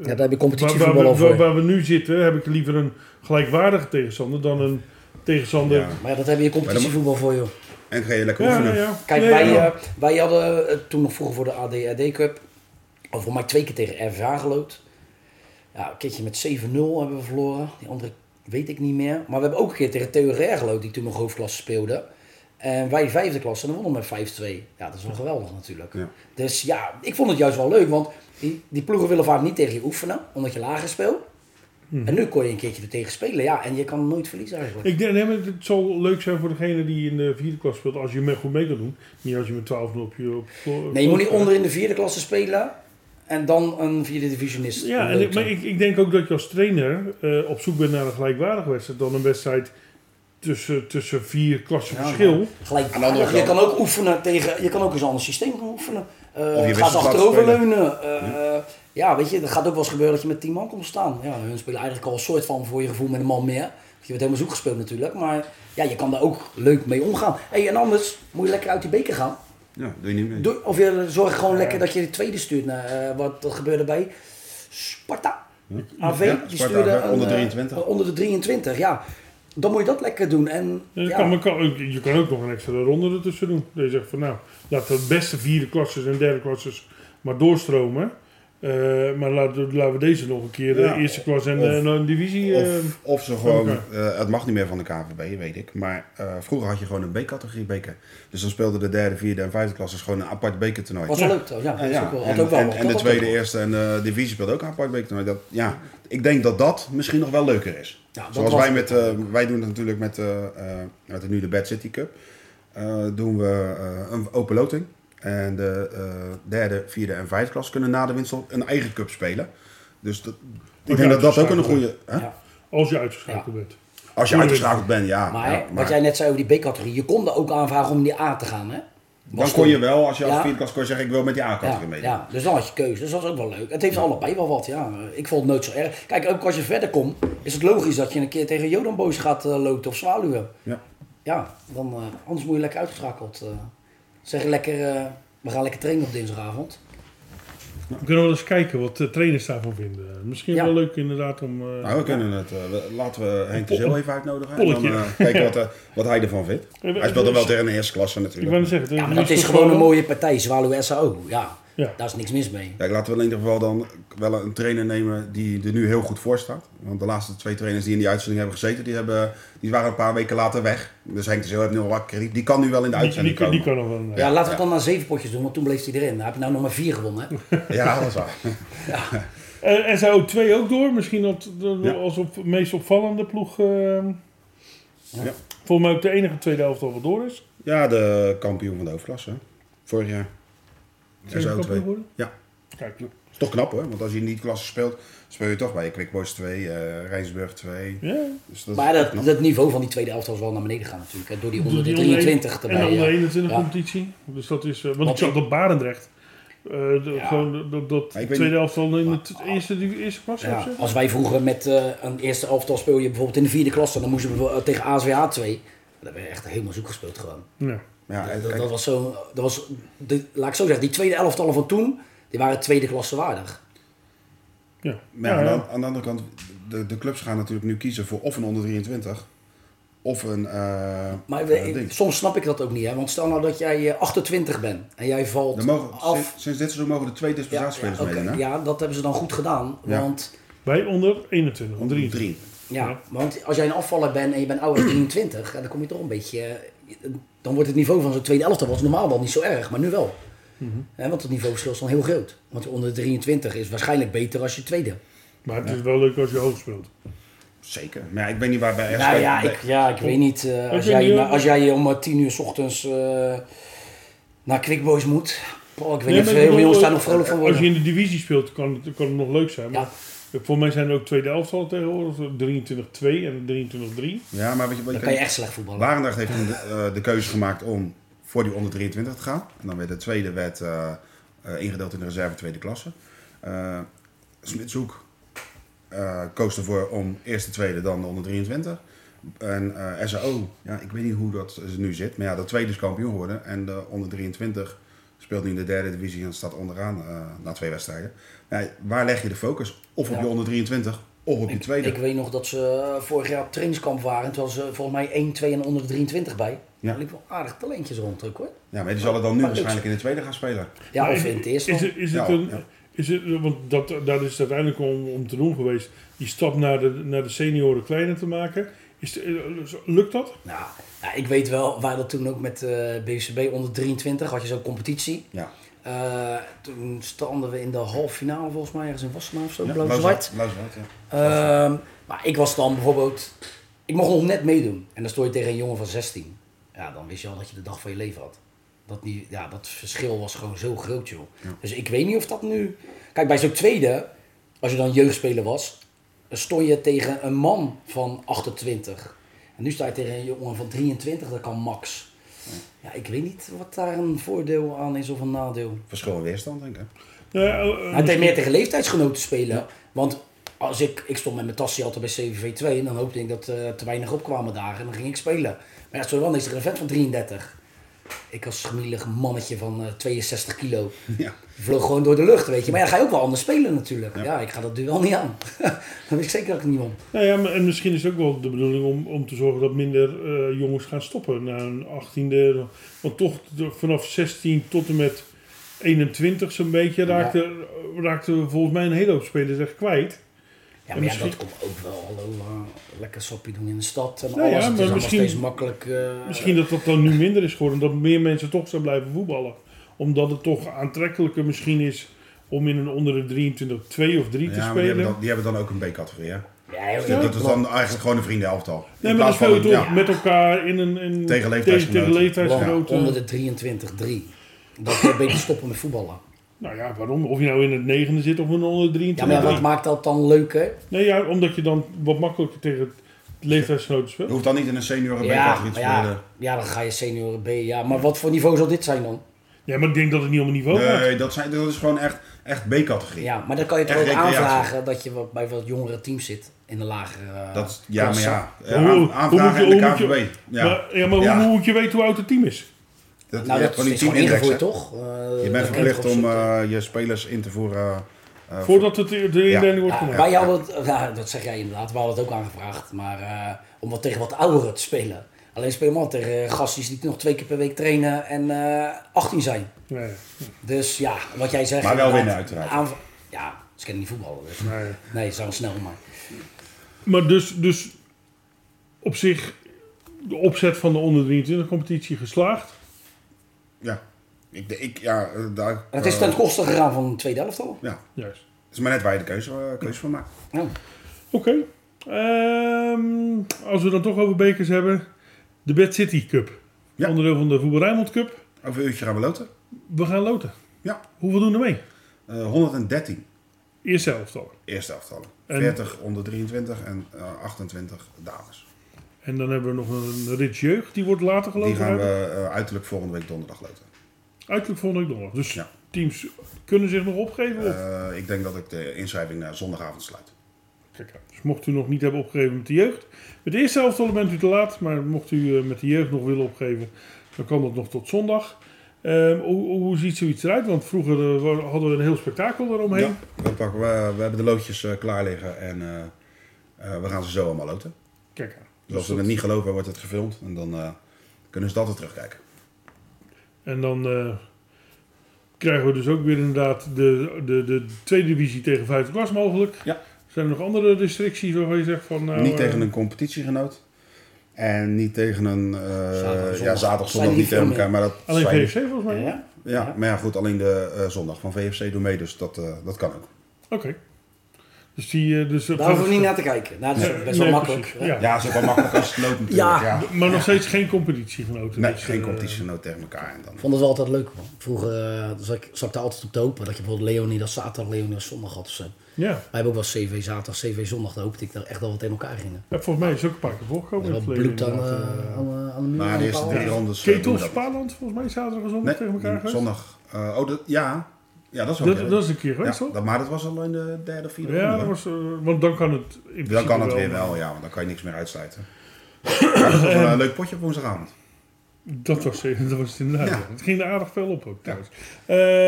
Speaker 3: Ja, daar heb je
Speaker 2: Waar, waar,
Speaker 3: competitievoetbal
Speaker 2: we,
Speaker 3: al voor.
Speaker 2: waar, waar we nu zitten heb ik liever een gelijkwaardige tegenstander dan een tegenstander.
Speaker 4: Ja.
Speaker 2: Ja,
Speaker 3: Maar ja, dat heb je competitievoetbal voor, joh.
Speaker 4: En ga je lekker
Speaker 2: ja,
Speaker 4: oefenen.
Speaker 2: ja.
Speaker 3: Kijk,
Speaker 2: Nee,
Speaker 3: wij,
Speaker 2: ja.
Speaker 3: eh, wij hadden eh, toen nog vroeger voor de ADRD Cup, of voor mij twee keer tegen RVA gelood. Ja, een keertje met 7-0 hebben we verloren. Die andere weet ik niet meer. Maar we hebben ook een keer tegen TURR gelood, die toen nog hoofdklasse speelde. En wij vijfde klasse, en dan wonnen we met 5-2. Ja, dat is wel geweldig natuurlijk.
Speaker 4: Ja.
Speaker 3: Dus ja, ik vond het juist wel leuk, want die, die ploegen willen vaak niet tegen je oefenen, omdat je lager speelt. En nu kon je een keertje er tegen spelen, ja, en je kan nooit verliezen eigenlijk.
Speaker 2: Ik denk, nee, maar het zal leuk zijn voor degene die in de vierde klas speelt als je me goed mee kan doen. Niet als je met 12 op je... Op, op-
Speaker 3: Nee, je moet niet onder in de vierde klasse spelen en dan een vierde divisionist.
Speaker 2: Ja, en ik, maar ik, ik denk ook dat je als trainer eh, op zoek bent naar een gelijkwaardige wedstrijd dan een wedstrijd tussen, tussen vier klassen
Speaker 3: Ja,
Speaker 2: verschil.
Speaker 3: Gelijk,
Speaker 4: Aan de andere
Speaker 3: je
Speaker 4: kant-
Speaker 3: kan ook oefenen tegen, je kan ook eens een ander systeem gaan oefenen. Eh,
Speaker 4: je
Speaker 3: gaat
Speaker 4: wisselt
Speaker 3: achterover
Speaker 4: laten
Speaker 3: leunen. Eh, eh, ja, weet je, dat gaat ook wel eens gebeuren dat je met tien man komt staan. Ja, hun spelen eigenlijk al een soort van voor je gevoel met een man meer. Je wordt helemaal zoek gespeeld natuurlijk, maar ja, je kan daar ook leuk mee omgaan. Hey, en anders moet je lekker uit die beker gaan.
Speaker 4: Ja, doe je niet mee.
Speaker 3: Doe- of je zorgt gewoon lekker dat je de tweede stuurt. Naar, eh, wat dat gebeurde bij Sparta. AV,
Speaker 4: Hm? Ja,
Speaker 3: die
Speaker 4: Sparta
Speaker 3: stuurde
Speaker 4: AV,
Speaker 3: een,
Speaker 4: onder
Speaker 3: eh,
Speaker 4: 23.
Speaker 3: onder de 23, ja. Dan moet je dat lekker doen. En,
Speaker 2: Ja, dat
Speaker 3: ja.
Speaker 2: Eh, kan, maar kan ook- je kan ook nog een extra ronde ertussen doen. Dat je zegt van nou, laten we de beste vierde klasses en derde klasses maar doorstromen. Eh, maar laten, we- laten we deze nog een keer de
Speaker 4: Ja,
Speaker 2: eerste klas en,
Speaker 4: of-
Speaker 2: en een divisie. eh,
Speaker 4: Of, of ze gewoon,
Speaker 2: elkaar.
Speaker 4: eh, het mag niet meer van de KVB, weet ik. Maar eh, vroeger had je gewoon een B-categorie beker. Dus dan speelden de derde, vierde en vijfde klasses gewoon een apart bekertoernooi.
Speaker 3: Was wel leuk trouwens, ja.
Speaker 4: Ja,
Speaker 3: dat is ook wel,
Speaker 4: en,
Speaker 3: had ook wel
Speaker 4: en-
Speaker 3: wat.
Speaker 4: en
Speaker 3: Dat
Speaker 4: de
Speaker 3: had
Speaker 4: tweede,
Speaker 3: ook wel.
Speaker 4: eerste en de divisie speelt ook een apart bekertoernooi. Dat, ja, ik denk dat dat misschien nog wel leuker is.
Speaker 3: Ja, dat
Speaker 4: Zoals
Speaker 3: was-
Speaker 4: wij met, eh, wij doen het natuurlijk met, eh, eh, met de, nu de Bad City Cup. Eh, doen we eh, een open loting. En de eh, derde, vierde en vijfde klas kunnen na de winst al een eigen cup spelen. Dus dat, ik denk dat dat ook een goede... Hè?
Speaker 3: Ja.
Speaker 2: als je uitgeschakeld bent.
Speaker 4: Als je
Speaker 2: Tuurlijk.
Speaker 4: uitgeschakeld bent, ja.
Speaker 3: Maar,
Speaker 4: ja,
Speaker 3: hè, wat jij net zei over die B-categorie, je kon er ook aanvragen om in die A te gaan, hè?
Speaker 4: dan kon je wel, als je als
Speaker 3: Ja.
Speaker 4: vierde klas kon zeggen, ik wil met die A-categorie
Speaker 3: ja,
Speaker 4: meedoen.
Speaker 3: ja, dus dan had je keuze. Dus dat was ook wel leuk. Het heeft allebei wel wat, ja. Ik vond het nooit zo erg. Kijk, ook als je verder komt, is het logisch dat je een keer tegen Jodanboos gaat eh, loten of Zwaluwen.
Speaker 4: Ja.
Speaker 3: Ja, dan, eh, anders moet je lekker uitgeschakeld. eh. zeg lekker, eh, we gaan lekker trainen op dinsdagavond.
Speaker 2: We kunnen wel eens kijken wat de trainers daarvan vinden. Misschien
Speaker 3: Ja.
Speaker 2: wel leuk inderdaad om... eh,
Speaker 4: Nou, we kunnen het. eh, we- laten we Henk de
Speaker 2: Een
Speaker 4: Zeel even uitnodigen. En dan
Speaker 2: polletje.
Speaker 4: eh, kijken wat, eh, wat hij ervan vindt.
Speaker 2: Ja, we-
Speaker 4: Hij speelt dan wel
Speaker 2: we-
Speaker 4: tegen de eerste klasse
Speaker 2: ik wou
Speaker 4: natuurlijk.
Speaker 2: net zeggen...
Speaker 3: Ja, maar
Speaker 2: dat
Speaker 3: dat is
Speaker 2: toch
Speaker 3: gewoon
Speaker 2: wel-
Speaker 3: een mooie partij, Zwaluwen SAO. Ja,
Speaker 2: Ja.
Speaker 3: daar is niks mis mee.
Speaker 4: Ja, ik laten we in ieder geval dan wel een trainer nemen die er nu heel goed voor staat. Want de laatste twee trainers die in die uitzending hebben gezeten, die, hebben, die waren een paar weken later weg. Dus Henk de Zeel heeft nu al wat krediet. Die kan nu wel in
Speaker 2: Die,
Speaker 4: de
Speaker 2: die,
Speaker 4: uitzending
Speaker 2: die, die
Speaker 4: komen.
Speaker 2: kan nog wel...
Speaker 3: Ja, laten we het dan naar zeven potjes doen, want toen bleef hij erin. Dan heb je nou nog maar vier gewonnen. Hè?
Speaker 4: Ja, dat is waar.
Speaker 2: Eh, SAO 2 ook door. Misschien dat, dat-
Speaker 4: Ja.
Speaker 2: als op, meest opvallende ploeg. eh,
Speaker 4: Ja.
Speaker 2: Volgens mij ook de enige tweede helft al wel door is.
Speaker 4: Ja, de kampioen van de hoofdklasse. hè. Vorig jaar.
Speaker 2: Zijn we
Speaker 4: SO2.
Speaker 2: kampioen geworden?
Speaker 4: Ja.
Speaker 2: Kijk,
Speaker 4: Toch knap hoor, want als je in die klasse speelt, speel je toch bij Quick Boys 2, eh, Rijnsburg 2.
Speaker 2: Ja.
Speaker 4: Dus dat is
Speaker 3: Maar
Speaker 4: knap.
Speaker 3: dat, dat niveau van die tweede elftal is wel naar beneden gegaan natuurlijk. Hè, door die onder de
Speaker 2: Die onder-
Speaker 3: 23
Speaker 2: En
Speaker 3: erbij.
Speaker 2: de onder
Speaker 3: ja.
Speaker 2: 21
Speaker 3: Ja.
Speaker 2: competitie. Dus dat is, eh, want ik
Speaker 3: Want
Speaker 2: zag
Speaker 3: ik-
Speaker 2: dat Barendrecht. eh, de-
Speaker 3: Ja.
Speaker 2: Gewoon dat, dat
Speaker 4: Maar ik weet
Speaker 2: tweede
Speaker 4: niet-
Speaker 2: elftal in de t- eerste, die, eerste klas
Speaker 3: Ja, als wij vroeger met eh, een eerste elftal speel je bijvoorbeeld in de vierde klasse, dan moesten we bijvoorbeeld tegen ASWA 2. Dan hebben we echt helemaal zoek gespeeld gewoon.
Speaker 2: Ja.
Speaker 4: ja, en-
Speaker 3: Dat,
Speaker 4: en-
Speaker 3: dat was zo, dat was, de, laat ik zo zeggen, die tweede elftallen van toen, die waren tweede klasse waardig.
Speaker 2: Ja.
Speaker 4: Maar
Speaker 2: Ja,
Speaker 4: aan, de,
Speaker 2: ja.
Speaker 4: aan de andere kant, de, de clubs gaan natuurlijk nu kiezen voor of een onder 23 of een. eh,
Speaker 3: Maar
Speaker 4: eh,
Speaker 3: we-
Speaker 4: ding.
Speaker 3: soms snap ik dat ook niet, hè? want stel nou dat jij eh, 28 bent en jij valt
Speaker 4: Dan mogen,
Speaker 3: af.
Speaker 4: sinds, sinds dit seizoen mogen er twee dispensatiespelers
Speaker 3: ja, oké.
Speaker 4: meedoen. hè?
Speaker 3: ja, dat hebben ze dan goed gedaan.
Speaker 4: Ja.
Speaker 3: Want,
Speaker 2: Wij onder 21, onder
Speaker 4: Drie.
Speaker 2: 23.
Speaker 3: ja,
Speaker 2: Ja.
Speaker 3: want als jij een afvaller bent en je bent ouder dan 23, ja, dan kom je toch een beetje... eh, Dan wordt het niveau van zo'n tweede elftal was normaal wel niet zo erg, maar nu wel. Hè, want het niveauverschil is dan heel groot. Want onder de 23 is waarschijnlijk beter als je tweede.
Speaker 2: Maar het is wel leuk als je hoog speelt.
Speaker 4: Zeker. Maar ja, ik weet niet waar bij
Speaker 3: Nou
Speaker 4: RSV
Speaker 3: ja,
Speaker 4: bij-
Speaker 3: ik, ja, ik weet niet. eh, als,
Speaker 2: weet
Speaker 3: jij,
Speaker 2: niet,
Speaker 3: nou,
Speaker 2: hoor.
Speaker 3: als jij om eh, 10 uur s ochtends eh, naar Quickboys moet. Paul, ik weet
Speaker 2: Nee,
Speaker 3: niet
Speaker 2: maar ik
Speaker 3: veel
Speaker 2: bedoel, eh,
Speaker 3: jongens daar nog vrolijk van
Speaker 2: Als
Speaker 3: worden.
Speaker 2: je in de divisie speelt, kan het, kan het nog leuk zijn.
Speaker 3: Ja.
Speaker 2: Maar voor mij zijn er ook tweede elftal tegenwoordig. 23-2 en 23-3.
Speaker 4: Ja, maar wat je, wat je
Speaker 3: Dan kan je echt slecht voetballen.
Speaker 4: Barendrecht heeft toen de, eh, de keuze gemaakt om voor die onder 23 te gaan. En dan werd de tweede werd eh, eh, ingedeeld in de reserve tweede klasse. Eh Smitshoek eh, koos ervoor om eerst de tweede, dan de onder 23. En eh, SAO, ja, ik weet niet hoe dat eh, nu zit. Maar ja, de tweede is kampioen geworden. En de onder 23 speelt nu in de derde divisie en staat onderaan eh, na twee wedstrijden. Nou, waar leg je de focus? Of op
Speaker 3: Ja.
Speaker 4: je onder 23, of op je tweede.
Speaker 3: Ik weet nog dat ze eh, vorig jaar op trainingskamp waren. Toen was ze volgens mij 1, 2 en onder de 23 bij.
Speaker 4: Ja.
Speaker 3: Daar liep wel aardig talentjes rond ook hoor.
Speaker 4: ja, maar die zullen dan nu
Speaker 3: Maar goed.
Speaker 4: waarschijnlijk in de tweede gaan spelen.
Speaker 3: Ja,
Speaker 2: Maar
Speaker 3: of in het eerste.
Speaker 2: Is, het- is het
Speaker 4: Ja,
Speaker 2: een,
Speaker 4: ja.
Speaker 2: is het, want dat, daar is het uiteindelijk om, om te doen geweest. Die stap naar de, naar de senioren kleiner te maken. Is, de- lukt dat?
Speaker 3: Nou, ja, ik weet wel, wij dat toen ook met eh BCB onder 23 had je zo'n competitie.
Speaker 4: Ja.
Speaker 3: Eh, toen standen we in de halve finale volgens mij ergens in Wassenaar of zo,
Speaker 4: Ja,
Speaker 3: blauw-zwart.
Speaker 4: Blauw-zwart, ja.
Speaker 3: Ehm, maar ik was dan bijvoorbeeld... Ik mocht nog net meedoen. En dan stond je tegen een jongen van 16. Ja, dan wist je al dat je de dag van je leven had. Dat, die, ja, dat verschil was gewoon zo groot, joh. Dus ik weet niet of dat nu... Kijk, bij zo'n tweede, als je dan jeugdspeler was... dan stond je tegen een man van 28. En nu sta je tegen een jongen van 23, dat kan max. Ja, ik weet niet wat daar een voordeel aan is of een nadeel.
Speaker 4: Verschil in weerstand, denk ik. hè?
Speaker 2: Ja, eh, eh,
Speaker 3: Maar het heeft meer tegen leeftijdsgenoten spelen. Want als ik, ik stond met mijn tasje altijd bij CVV2 en dan hoopte ik dat er te weinig opkwamen dagen en dan ging ik spelen. Maar ja, zo dan is er een vent van 33. Ik als gemielig mannetje van eh, 62 kilo
Speaker 4: Ja.
Speaker 3: vloog gewoon door de lucht, weet je. Maar ja, dan ga je ook wel anders spelen natuurlijk. Ja, ik ga dat duel niet aan. dan weet ik zeker dat ik het niet om.
Speaker 2: Nou ja, maar- en misschien is het ook wel de bedoeling om, om te zorgen dat minder eh, jongens gaan stoppen na een 18e. Want toch de- vanaf 16 tot en met 21 zo'n beetje raakte, raakten we volgens mij een hele hoop spelers echt kwijt.
Speaker 3: Ja,
Speaker 2: En
Speaker 3: maar ja,
Speaker 2: misschien-
Speaker 3: dat komt ook wel. Hallo, eh, lekker sapje doen in de stad en
Speaker 2: Nou ja,
Speaker 3: alles. het
Speaker 2: maar
Speaker 3: is allemaal
Speaker 2: misschien-
Speaker 3: steeds makkelijk. eh,
Speaker 2: Misschien dat dat dan nu minder is geworden, dat meer mensen toch zijn blijven voetballen. Omdat het toch aantrekkelijker misschien is om in een onder de 23 2 of 3 te
Speaker 4: Ja, maar die
Speaker 2: spelen.
Speaker 4: hebben, dan, die hebben dan ook een B-categorie, hè?
Speaker 3: Ja, ja,
Speaker 4: Dat is dan eigenlijk gewoon een vriendenelftal. In
Speaker 2: Nee, maar dan
Speaker 4: plaats
Speaker 2: speel je
Speaker 4: van
Speaker 2: toch
Speaker 4: een- ja.
Speaker 2: met elkaar in een... In,
Speaker 4: Tegen leeftijdsgenoten.
Speaker 2: tegen
Speaker 3: Ja,
Speaker 2: leeftijdsgenoten.
Speaker 3: onder de 23-3. Dat je beter stoppen met voetballen.
Speaker 2: Nou ja, waarom? Of je nou in het negende zit of in een onder de 23.
Speaker 3: Ja, maar ja, wat maakt dat dan leuker?
Speaker 2: Nee, ja, omdat je dan wat makkelijker tegen het leeftijdsgenoten
Speaker 4: Je
Speaker 2: speelt.
Speaker 4: hoeft dan niet in een senioren
Speaker 3: Ja,
Speaker 4: B-categorie te
Speaker 3: maar
Speaker 4: spelen.
Speaker 3: ja, ja, dan ga je senioren B. Ja, maar wat voor niveau zal dit zijn dan?
Speaker 2: Ja, maar ik denk dat het niet om het niveau gaat.
Speaker 4: Nee, dat, zijn, dat is gewoon echt, echt B-categorie.
Speaker 3: Ja, maar dan kan je toch
Speaker 4: Echt
Speaker 3: ook
Speaker 4: recreatie.
Speaker 3: aanvragen dat je wat, bij wat jongere teams zit. In de lagere eh,
Speaker 4: Dat, ja, maar
Speaker 3: klasse.
Speaker 4: ja. eh,
Speaker 2: Hoe- hoe moet
Speaker 4: aan-
Speaker 2: je-
Speaker 4: Aanvragen
Speaker 2: hoe
Speaker 4: in de
Speaker 2: moet je-
Speaker 4: KVB. Ja.
Speaker 2: Maar, ja, maar
Speaker 4: Ja.
Speaker 2: Hoe, hoe moet je weten hoe oud het team is?
Speaker 4: Dat,
Speaker 3: Nou,
Speaker 4: je
Speaker 3: dat
Speaker 4: hebt gewoon die
Speaker 3: is gewoon
Speaker 4: teamindex,
Speaker 3: ingevoerd,
Speaker 4: hè?
Speaker 3: toch? Eh,
Speaker 4: Je
Speaker 3: dat
Speaker 4: bent
Speaker 3: kan je
Speaker 4: verplicht
Speaker 3: toch
Speaker 4: om
Speaker 3: opzoeken?
Speaker 4: eh, je spelers in te voeren. eh, voor-
Speaker 2: Voordat het de de indeling wordt
Speaker 3: Ja,
Speaker 2: gemaakt.
Speaker 3: wij hadden het, ja, dat zeg jij inderdaad, wij hadden het ook aangevraagd. Maar eh, om wat tegen wat ouderen te spelen. Alleen spelen we altijd tegen gasties die nog twee keer per week trainen en eh, 18 zijn.
Speaker 2: Nee,
Speaker 3: Dus ja, wat jij zegt.
Speaker 4: Maar wel
Speaker 3: inderdaad,
Speaker 4: winnen, uiteraard.
Speaker 3: aanv- ja, ze kennen niet voetballen. Dus.
Speaker 2: nee.
Speaker 3: Nee, ze zijn wel snel, maar.
Speaker 2: Maar dus, dus op zich de opzet van de onder 23 competitie geslaagd.
Speaker 4: Ja. Ik, ik, ja, eh, daar,
Speaker 3: Het is
Speaker 4: eh,
Speaker 3: ten koste gegaan van de tweede helft al.
Speaker 4: Ja.
Speaker 2: Juist.
Speaker 4: Het is maar net waar je de keuze, eh, keuze van maakt.
Speaker 3: Ja.
Speaker 2: Oké. Ehm, als we dan toch over bekers hebben. De Bad City Cup.
Speaker 4: Ja.
Speaker 2: Onderdeel van de Voetbal Rijnmond Cup.
Speaker 4: Over een uurtje gaan we loten.
Speaker 2: We gaan loten.
Speaker 4: Ja.
Speaker 2: Hoeveel doen er mee?
Speaker 4: eh, 113
Speaker 2: Eerste elftal.
Speaker 4: eerste elftallen.
Speaker 2: En-
Speaker 4: 40 onder 23 en eh, 28 dames.
Speaker 2: En dan hebben we nog een Rits Jeugd, die wordt later geloof
Speaker 4: Die
Speaker 2: ik.
Speaker 4: gaan we
Speaker 2: uit-
Speaker 4: eh, uiterlijk volgende week donderdag loten.
Speaker 2: Uiterlijk volgende week donderdag. Dus
Speaker 4: Ja.
Speaker 2: teams kunnen zich nog opgeven. of-
Speaker 4: Eh, ik denk dat ik de inschrijving naar zondagavond sluit.
Speaker 2: Kijk, uit. dus mocht u nog niet hebben opgegeven met de jeugd. Met de eerste helft bent u te laat. Maar mocht u eh, met de jeugd nog willen opgeven, dan kan dat nog tot zondag. Ehm, hoe, hoe hoe ziet zoiets eruit? Want vroeger eh, wa- hadden we een heel spektakel eromheen.
Speaker 4: Ja, we, pakken, we, we hebben de loodjes eh, klaar liggen en eh, eh, we gaan ze zo allemaal loten.
Speaker 2: Kijk aan.
Speaker 4: Dus als ze
Speaker 2: dat-
Speaker 4: het niet geloven, wordt het gefilmd en dan eh, kunnen ze dat weer terugkijken.
Speaker 2: En dan eh, krijgen we dus ook weer inderdaad de, de, de tweede divisie tegen vijfde klas mogelijk.
Speaker 4: Ja.
Speaker 2: Zijn er nog andere restricties waarvan je zegt van... Nou,
Speaker 4: niet
Speaker 2: eh,
Speaker 4: tegen een competitiegenoot. En niet tegen een eh,
Speaker 3: Zaterdag, zondag.
Speaker 4: ja, zaterdag,
Speaker 3: Zijn
Speaker 4: zondag
Speaker 3: die
Speaker 4: niet tegen
Speaker 3: veel
Speaker 4: elkaar. Maar dat
Speaker 2: Alleen
Speaker 4: zijn-
Speaker 2: VFC volgens mij?
Speaker 3: Ja?
Speaker 4: Ja, maar ja, goed, alleen de eh, zondag van VFC doen mee, dus dat, eh, dat kan ook.
Speaker 2: Oké. Dus die... eh, Dus
Speaker 3: Daar hoeven we niet naar te kijken. Nou, dat is
Speaker 2: Nee,
Speaker 3: best wel
Speaker 2: nee,
Speaker 3: makkelijk.
Speaker 2: precies.
Speaker 3: hè?
Speaker 2: Ja.
Speaker 4: Ja, is ook wel makkelijk als het loopt natuurlijk.
Speaker 3: Ja.
Speaker 4: Ja.
Speaker 2: Maar nog steeds geen competitiegenoten.
Speaker 4: Nee,
Speaker 2: dus,
Speaker 4: geen
Speaker 2: eh,
Speaker 4: competitiegenoot tegen elkaar. En dan.
Speaker 3: Ik vond het wel altijd leuk. Man. Vroeger eh, zat ik, zat ik daar altijd op te hopen. Dat je bijvoorbeeld Leonie dat zaterdag, Leonie dat zondag had. of zo.
Speaker 2: Eh, Ja.
Speaker 3: Wij hebben ook wel CV zaterdag, CV zondag. Daar hoopte ik daar echt wel wat in elkaar gingen.
Speaker 2: Ja, volgens mij is het ook een paar keer
Speaker 3: Er
Speaker 2: voorgekomen. in
Speaker 3: wel
Speaker 2: het verleden,
Speaker 3: bloed aan,
Speaker 2: inderdaad,
Speaker 3: eh,
Speaker 2: eh.
Speaker 3: aan, eh, aan de muur.
Speaker 4: Maar
Speaker 3: aan
Speaker 4: de
Speaker 3: de
Speaker 4: eerste
Speaker 3: paal.
Speaker 4: drie rondes... eh,
Speaker 2: Ketel
Speaker 4: doen we dat.
Speaker 2: Spaarland, volgens mij zaterdag en zondag tegen elkaar
Speaker 4: Nee,
Speaker 2: geweest.
Speaker 4: zondag. Eh, oh, dat, ja. ja, dat is wel
Speaker 2: Dat, dat is een keer geweest,
Speaker 4: ja,
Speaker 2: toch?
Speaker 4: dat- Maar dat was al in de derde of vierde
Speaker 2: Ja,
Speaker 4: ronde.
Speaker 2: dat
Speaker 4: hoor.
Speaker 2: was, eh, want dan kan het in principe
Speaker 4: Dan kan het weer wel, ja, want dan kan je niks meer uitsluiten. Ja, dat was wel een leuk potje op woensdagavond.
Speaker 2: Dat was, dat was het inderdaad.
Speaker 4: Ja.
Speaker 2: ja. Het ging er aardig veel op ook trouwens.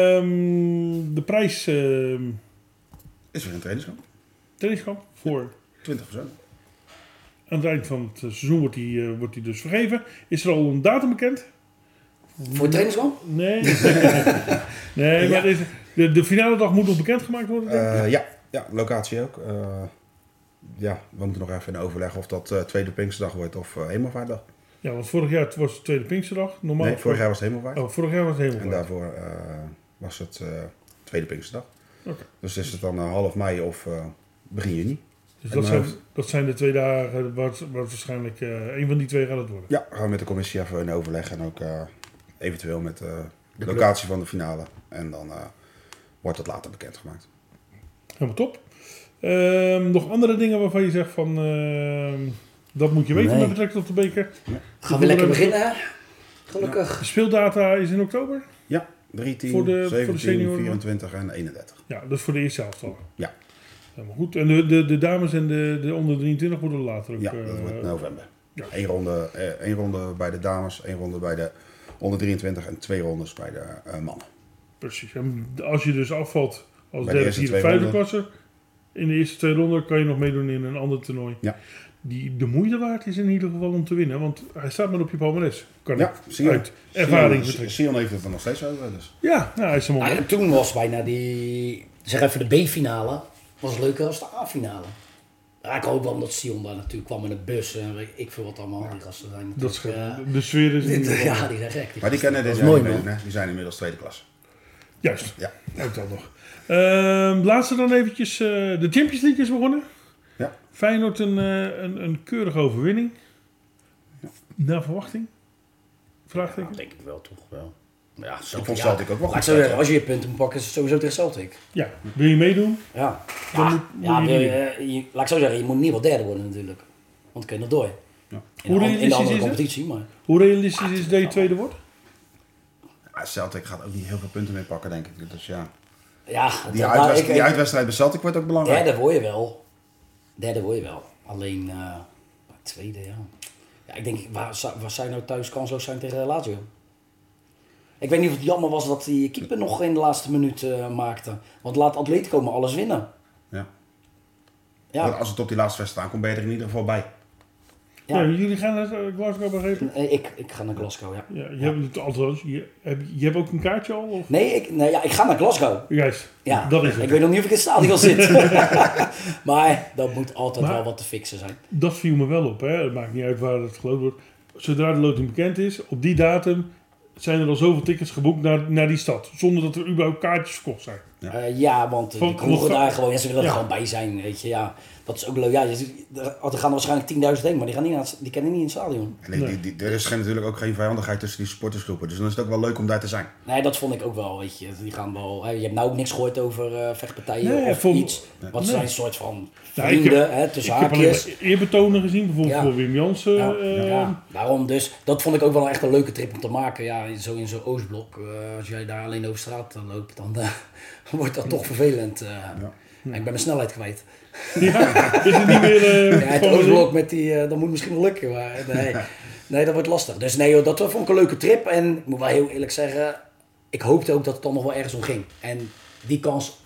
Speaker 2: Ehm, de prijs ehm
Speaker 4: Is weer een trainingskamp.
Speaker 2: trainingskamp voor
Speaker 4: 20 procent.
Speaker 2: aan het eind van het seizoen wordt die, eh, wordt die dus vergeven. Is er al een datum bekend?
Speaker 3: Voor het trainingskamp?
Speaker 2: Nee. nee, maar is- de, de finale dag moet nog bekendgemaakt worden. denk ik.
Speaker 4: Eh, ja, ja, locatie ook. Eh, ja, we moeten nog even in overleg of dat eh, tweede Pinksterdag wordt of eh Hemelvaartdag.
Speaker 2: Ja, want vorig jaar was het tweede Pinksterdag. Normaal
Speaker 4: Nee, vorig jaar was het Hemelvaart.
Speaker 2: Oh, vorig jaar was het
Speaker 4: En
Speaker 2: helemaal waar.
Speaker 4: daarvoor eh, was het eh, tweede Pinksterdag.
Speaker 2: Oké.
Speaker 4: Dus is het dan eh, half mei of eh, begin juni?
Speaker 2: Dus
Speaker 4: En
Speaker 2: dat zijn,
Speaker 4: dan-
Speaker 2: dat zijn de twee dagen waar, het- waar het waarschijnlijk eh een van die twee gaat het worden.
Speaker 4: Ja, gaan we met de commissie even in overleg en ook eh, eventueel met eh, de
Speaker 3: club.
Speaker 4: locatie van de finale. En dan eh, wordt het later bekendgemaakt.
Speaker 2: Helemaal top. Ehm, nog andere dingen waarvan je zegt van... ehm, dat moet je weten
Speaker 3: Nee.
Speaker 2: met betrekking tot de beker.
Speaker 3: Gaan we lekker beginnen, hè? Gelukkig.
Speaker 2: De speeldata is in oktober.
Speaker 4: Ja, 3, 10,
Speaker 2: Voor de- voor de
Speaker 4: 17,
Speaker 2: senioren?
Speaker 4: 24 en 31.
Speaker 2: Ja, dat is voor de eerste helft al.
Speaker 4: Ja.
Speaker 2: Helemaal goed. En de, de, de dames en de, de onder 23 worden later ook...
Speaker 4: Ja,
Speaker 2: eh,
Speaker 4: dat wordt november.
Speaker 2: ja.
Speaker 4: Eén ronde, eh, één ronde bij de dames, één ronde bij de onder 23 en twee rondes bij de eh, mannen.
Speaker 2: Precies. En als je dus afvalt als
Speaker 4: de
Speaker 2: derde,
Speaker 4: eerste
Speaker 2: vierde,
Speaker 4: twee
Speaker 2: vijfde
Speaker 4: ronden.
Speaker 2: klasse... In de eerste twee ronden kan je nog meedoen in een ander toernooi.
Speaker 4: Ja.
Speaker 2: Die de moeite waard is in ieder geval om te winnen. Want hij staat maar op je palmarès. Kan
Speaker 4: Ja,
Speaker 2: ik
Speaker 4: Sion.
Speaker 2: uit ervaring
Speaker 4: Sion,
Speaker 2: vertrekken.
Speaker 4: Sion heeft het er nog steeds over. Dus.
Speaker 2: Ja, nou, hij is er
Speaker 3: Ah,
Speaker 2: mooi.
Speaker 3: en toen was bijna die, zeg even de B-finale, was leuker dan de A-finale. Ja, ik hoop wel omdat Sion daar natuurlijk kwam met een bus en weet ik veel wat allemaal. Die gasten zijn
Speaker 2: Dat is,
Speaker 3: natuurlijk, eh,
Speaker 2: de sfeer is in ieder geval-
Speaker 3: ja, die zijn gek.
Speaker 4: Maar die
Speaker 3: gasten.
Speaker 4: kennen dit
Speaker 3: Dat is
Speaker 4: jaar
Speaker 3: mooi,
Speaker 4: niet
Speaker 3: man.
Speaker 4: meedoen, hè? Die zijn inmiddels tweede klas.
Speaker 2: Juist,
Speaker 4: Ja.
Speaker 2: ook dat nog. Ehm, laatste dan eventjes. eh, de Champions League is begonnen.
Speaker 4: Ja.
Speaker 2: Feyenoord een, eh, een, een keurige overwinning. Naar verwachting?
Speaker 3: Ja,
Speaker 2: Vraagteken.
Speaker 3: denk ik wel, toch wel. Maar Ja, Celtic,
Speaker 4: vond
Speaker 3: ja.
Speaker 4: Celtic ook wel
Speaker 3: Maar
Speaker 4: goed
Speaker 3: ik zou zeggen,
Speaker 4: spelen.
Speaker 3: Als je je punten moet pakken, is het sowieso tegen Celtic.
Speaker 2: Ja, wil je meedoen?
Speaker 3: Ja,
Speaker 2: Dan
Speaker 3: ja,
Speaker 2: moet- moet
Speaker 3: ja,
Speaker 2: je
Speaker 3: wil
Speaker 2: die
Speaker 3: je- je- laat ik zo zeggen, je moet niet wel derde worden natuurlijk. Want dan kun je nog door. In,
Speaker 2: Hoe
Speaker 3: de, in de
Speaker 2: realistisch is
Speaker 3: andere
Speaker 2: het?
Speaker 3: competitie, maar...
Speaker 2: Hoe realistisch is dat je tweede wordt?
Speaker 4: Ja, Ah, Celtic gaat ook niet heel veel punten meer pakken, denk ik. Dus ja.
Speaker 3: Ja,
Speaker 4: Die,
Speaker 3: dat-
Speaker 4: uitwedst-
Speaker 3: ik-
Speaker 4: die
Speaker 3: ik-
Speaker 4: uitwedstrijd bij Celtic wordt ook belangrijk.
Speaker 3: Derde word je wel. Derde word je wel. Alleen eh, tweede, ja. ja. Ik denk, waar, zou- waar zij nou thuis kansloos zijn tegen Lazio? Ik weet niet of het jammer was dat die keeper nog in de laatste minuut eh, maakte. Want laat Atletico maar alles winnen.
Speaker 4: Ja.
Speaker 3: Ja,
Speaker 4: Want Als het op die laatste wedstrijd aankomt, ben je er in ieder geval bij.
Speaker 3: Ja.
Speaker 2: Ja, jullie gaan naar eh, Glasgow begrepen?
Speaker 3: Eh, ik, ik ga naar Glasgow, ja.
Speaker 2: Ja, je, Hebt, het- althans, je, heb, je hebt ook een kaartje al? Of?
Speaker 3: Nee, ik, nee ja, ik ga naar Glasgow.
Speaker 2: Juist,
Speaker 3: Ja,
Speaker 2: dat is het.
Speaker 3: Ik weet nog niet of ik in het stadion zit. maar dat moet altijd
Speaker 2: Maar-
Speaker 3: wel wat te fixen zijn.
Speaker 2: Dat viel me wel op. Hè? Het maakt niet uit waar het geloot wordt. Zodra de loting bekend is, op die datum zijn er al zoveel tickets geboekt naar, naar die stad. Zonder dat er überhaupt kaartjes verkocht zijn.
Speaker 4: Ja.
Speaker 3: Eh, ja, want eh, die
Speaker 2: Van-
Speaker 3: kroegen
Speaker 2: van-
Speaker 3: daar gewoon, ja, ze willen
Speaker 2: Ja.
Speaker 3: er gewoon bij zijn, weet je. Ja, dat is ook leuk. Ja, je ziet- er er gaan waarschijnlijk 10.000 heen, maar die, gaan niet naar het, die kennen niet in het stadion.
Speaker 4: Alleen, die, die, er is geen, natuurlijk ook geen vijandigheid tussen die supportersgroepen. Dus dan is het ook wel leuk om daar te zijn.
Speaker 3: Nee, dat vond ik ook wel, weet je. Die gaan wel, hè, je hebt nou ook niks gehoord over eh, vechtpartijen
Speaker 2: Nee,
Speaker 3: of
Speaker 2: voor-
Speaker 3: iets. Wat zijn een soort van vrienden, hè, tussen
Speaker 2: Nou, ik heb alleen
Speaker 3: haakjes.
Speaker 2: maar eerbetonen gezien, bijvoorbeeld
Speaker 3: Ja.
Speaker 2: voor Wim Jansen.
Speaker 3: Ja,
Speaker 2: eh,
Speaker 3: ja, daarom dus. Dat vond ik ook wel echt een leuke trip om te maken. Ja, zo in zo'n Oostblok. eh, als jij daar alleen over straat eh, loopt, dan eh, wordt dat toch vervelend. eh. En ik ben mijn snelheid kwijt.
Speaker 2: Is het niet meer... eh,
Speaker 3: Ja, het
Speaker 2: van-
Speaker 3: Oostblok met die, eh, dat moet misschien wel lukken, maar nee. nee, dat wordt lastig. Dus nee, joh, dat vond ik een leuke trip. En ik moet wel heel eerlijk zeggen, ik hoopte ook dat het dan nog wel ergens om ging. En die kans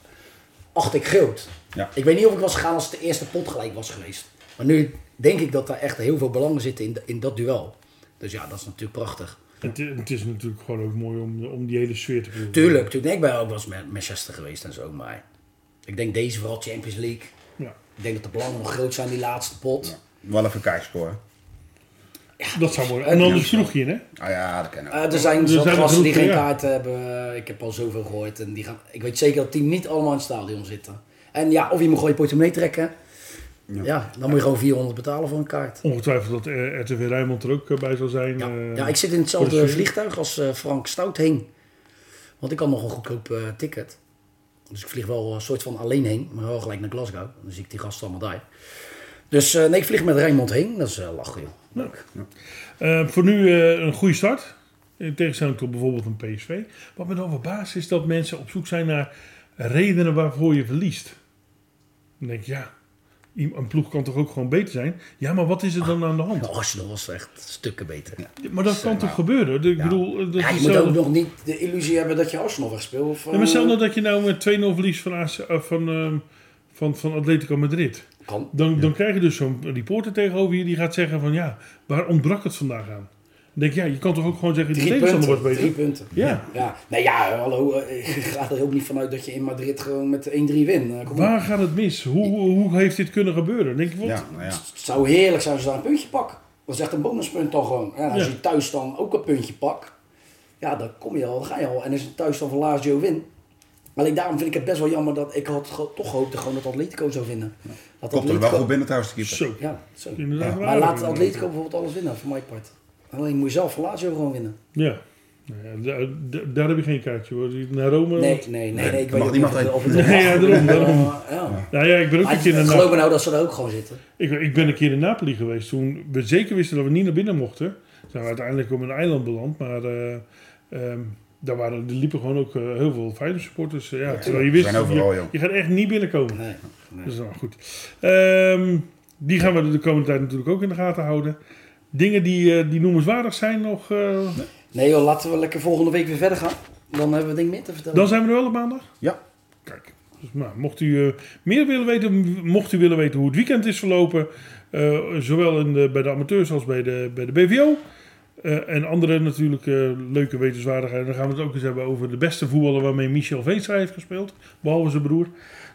Speaker 3: acht ik groot.
Speaker 4: Ja.
Speaker 3: Ik weet niet of ik was gegaan als het de eerste pot gelijk was geweest. Maar nu denk ik dat daar echt heel veel belangen zitten in, in dat duel. Dus ja, dat is natuurlijk prachtig.
Speaker 2: Het, het is natuurlijk gewoon ook mooi om, om die hele sfeer te proeven.
Speaker 3: Tuurlijk, tuurlijk. Nee, ik ben ook wel eens met Manchester geweest en zo. Maar ik denk deze vooral Champions League.
Speaker 2: Ja.
Speaker 3: Ik denk dat de belangen nog groot zijn, die laatste pot.
Speaker 4: Wel even kijkspoor. hè?
Speaker 2: Dat zou mooi. En dan het kroegje, hè?
Speaker 4: Ah ja, dat kennen we.
Speaker 3: Eh, er zijn
Speaker 2: Er
Speaker 3: zat
Speaker 2: zijn er
Speaker 3: gasten die
Speaker 2: genoeg,
Speaker 3: geen
Speaker 2: ja.
Speaker 3: kaart hebben. Ik heb al zoveel gehoord. En die gaan, ik weet zeker dat die niet allemaal in het stadion zitten. En ja, of je moet gewoon je portemonnee trekken. Ja, dan moet je gewoon 400 betalen voor een kaart.
Speaker 2: Ongetwijfeld dat eh, RTV Rijnmond er ook eh, bij zal zijn.
Speaker 3: Ja,
Speaker 2: eh,
Speaker 3: ja ik zit in
Speaker 2: voor de
Speaker 3: hetzelfde
Speaker 2: sfeer.
Speaker 3: vliegtuig als eh, Frank Stout heen. Want ik had nog een goedkoop eh, ticket. Dus ik vlieg wel een soort van alleen heen, maar wel gelijk naar Glasgow. Dan zie ik die gasten allemaal daar. Dus eh, nee, ik vlieg met Rijnmond heen. Dat is eh, lachen, joh. Leuk.
Speaker 2: Nou, Eh, voor nu eh, een goede start. In tegenstelling tot bijvoorbeeld een PSV. Wat me dan verbaast is dat mensen op zoek zijn naar redenen waarvoor je verliest. Dan denk ik, ja, i- een ploeg kan toch ook gewoon beter zijn? Ja, maar wat is er dan aan de hand?
Speaker 3: Nou, Arsenal was echt stukken beter.
Speaker 2: Maar dat kan toch gebeuren? Ik bedoel, eh, dat
Speaker 3: Ja,
Speaker 2: is
Speaker 3: je moet
Speaker 2: hetzelfde-
Speaker 3: ook nog niet de illusie hebben dat je Arsenal wegspeelt. Of,
Speaker 2: Ja, maar stel
Speaker 3: eh,
Speaker 2: nou dat je nou met 2-0 verliest van, AC eh, van, ehm, van, van Atletico Madrid.
Speaker 3: kan.
Speaker 2: Dan, dan krijg je dus zo'n reporter tegenover je die gaat zeggen van ja, waar ontbrak het vandaag aan? Dan denk ik, ja, je kan toch ook gewoon zeggen, de
Speaker 3: Drie
Speaker 2: tegenstander
Speaker 3: punten.
Speaker 2: wordt beter?
Speaker 3: Drie punten.
Speaker 2: Ja.
Speaker 3: Ja, nou ja, hallo. eh, Ik ga er ook niet vanuit dat je in Madrid gewoon met 1-3 wint. Eh, kom op.
Speaker 2: Waar gaat het mis? Hoe, hoe heeft dit kunnen gebeuren? Dan Denk ik, wat?
Speaker 4: Ja, nou ja.
Speaker 3: Het zou heerlijk zijn als ze daar een puntje pakken. Dat is echt een bonuspunt dan gewoon. Ja, als
Speaker 2: Ja.
Speaker 3: je thuis dan ook een puntje pakt, ja, dan kom je al, dan ga je al. En als je thuis dan van Lazio win. Alleen daarom vind ik het best wel jammer dat ik had ge- toch gehoopt gewoon dat Atletico zou winnen. Dat
Speaker 4: Komt er wel
Speaker 3: Atletico-
Speaker 4: goed binnen trouwens, de keeper.
Speaker 2: Zo.
Speaker 3: Ja, zo.
Speaker 2: Inderdaad waar.
Speaker 3: Maar laat Atletico bijvoorbeeld alles winnen, voor mijn part. Alleen moet je zelf van Lazio gewoon winnen.
Speaker 2: Ja. Nou ja, daar- daar- daar heb je geen kaartje hoor. Naar Rome.
Speaker 3: Nee, nee, nee. nee, ik
Speaker 4: mag
Speaker 3: weet ook niet
Speaker 4: niemand
Speaker 3: of het-
Speaker 4: heen.
Speaker 3: of het
Speaker 2: Nee, ja, daarom, daarom.
Speaker 3: Eh, ja.
Speaker 2: Nou ja, ik ben ook
Speaker 3: Maar
Speaker 2: een keer naar
Speaker 3: geloof me
Speaker 2: Napoli.
Speaker 3: nou dat ze er ook gewoon zitten.
Speaker 2: Ik, ik ben een keer in Napoli geweest toen we zeker wisten dat we niet naar binnen mochten. Zijn we uiteindelijk op een eiland beland, maar eh, ehm, daar waren, er liepen gewoon ook eh, heel veel Feyenoord supporters. Ja, terwijl je wist,
Speaker 4: zijn overal,
Speaker 2: je,
Speaker 4: joh.
Speaker 2: je gaat echt niet binnenkomen.
Speaker 3: Nee, nee.
Speaker 2: Dus nou goed. Ehm, die gaan we de komende tijd natuurlijk ook in de gaten houden. Dingen die, eh, die noemenswaardig zijn nog. eh,
Speaker 3: Nee joh, laten we lekker volgende week weer verder gaan. Dan hebben we denk ik meer te vertellen.
Speaker 2: Dan zijn we er wel op maandag.
Speaker 4: Ja.
Speaker 2: Kijk. Dus, nou, mocht u eh, meer willen weten, mocht u willen weten hoe het weekend is verlopen, eh, zowel in de, bij de amateurs als bij de, bij de BVO. eh, en andere natuurlijk eh, leuke wetenswaardigheden. Dan gaan we het ook eens hebben over de beste voetballer waarmee Michel Veenstra heeft gespeeld. Behalve zijn broer.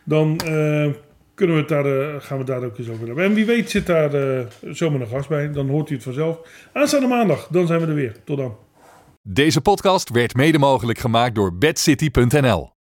Speaker 2: Dan eh, kunnen we het daar, eh, gaan we het daar ook eens over hebben. En wie weet zit daar eh, zomaar een gast bij. Dan hoort u het vanzelf. Aanstaande maandag. Dan zijn we er weer. Tot dan.
Speaker 1: Deze podcast werd mede mogelijk gemaakt door bedcity.nl.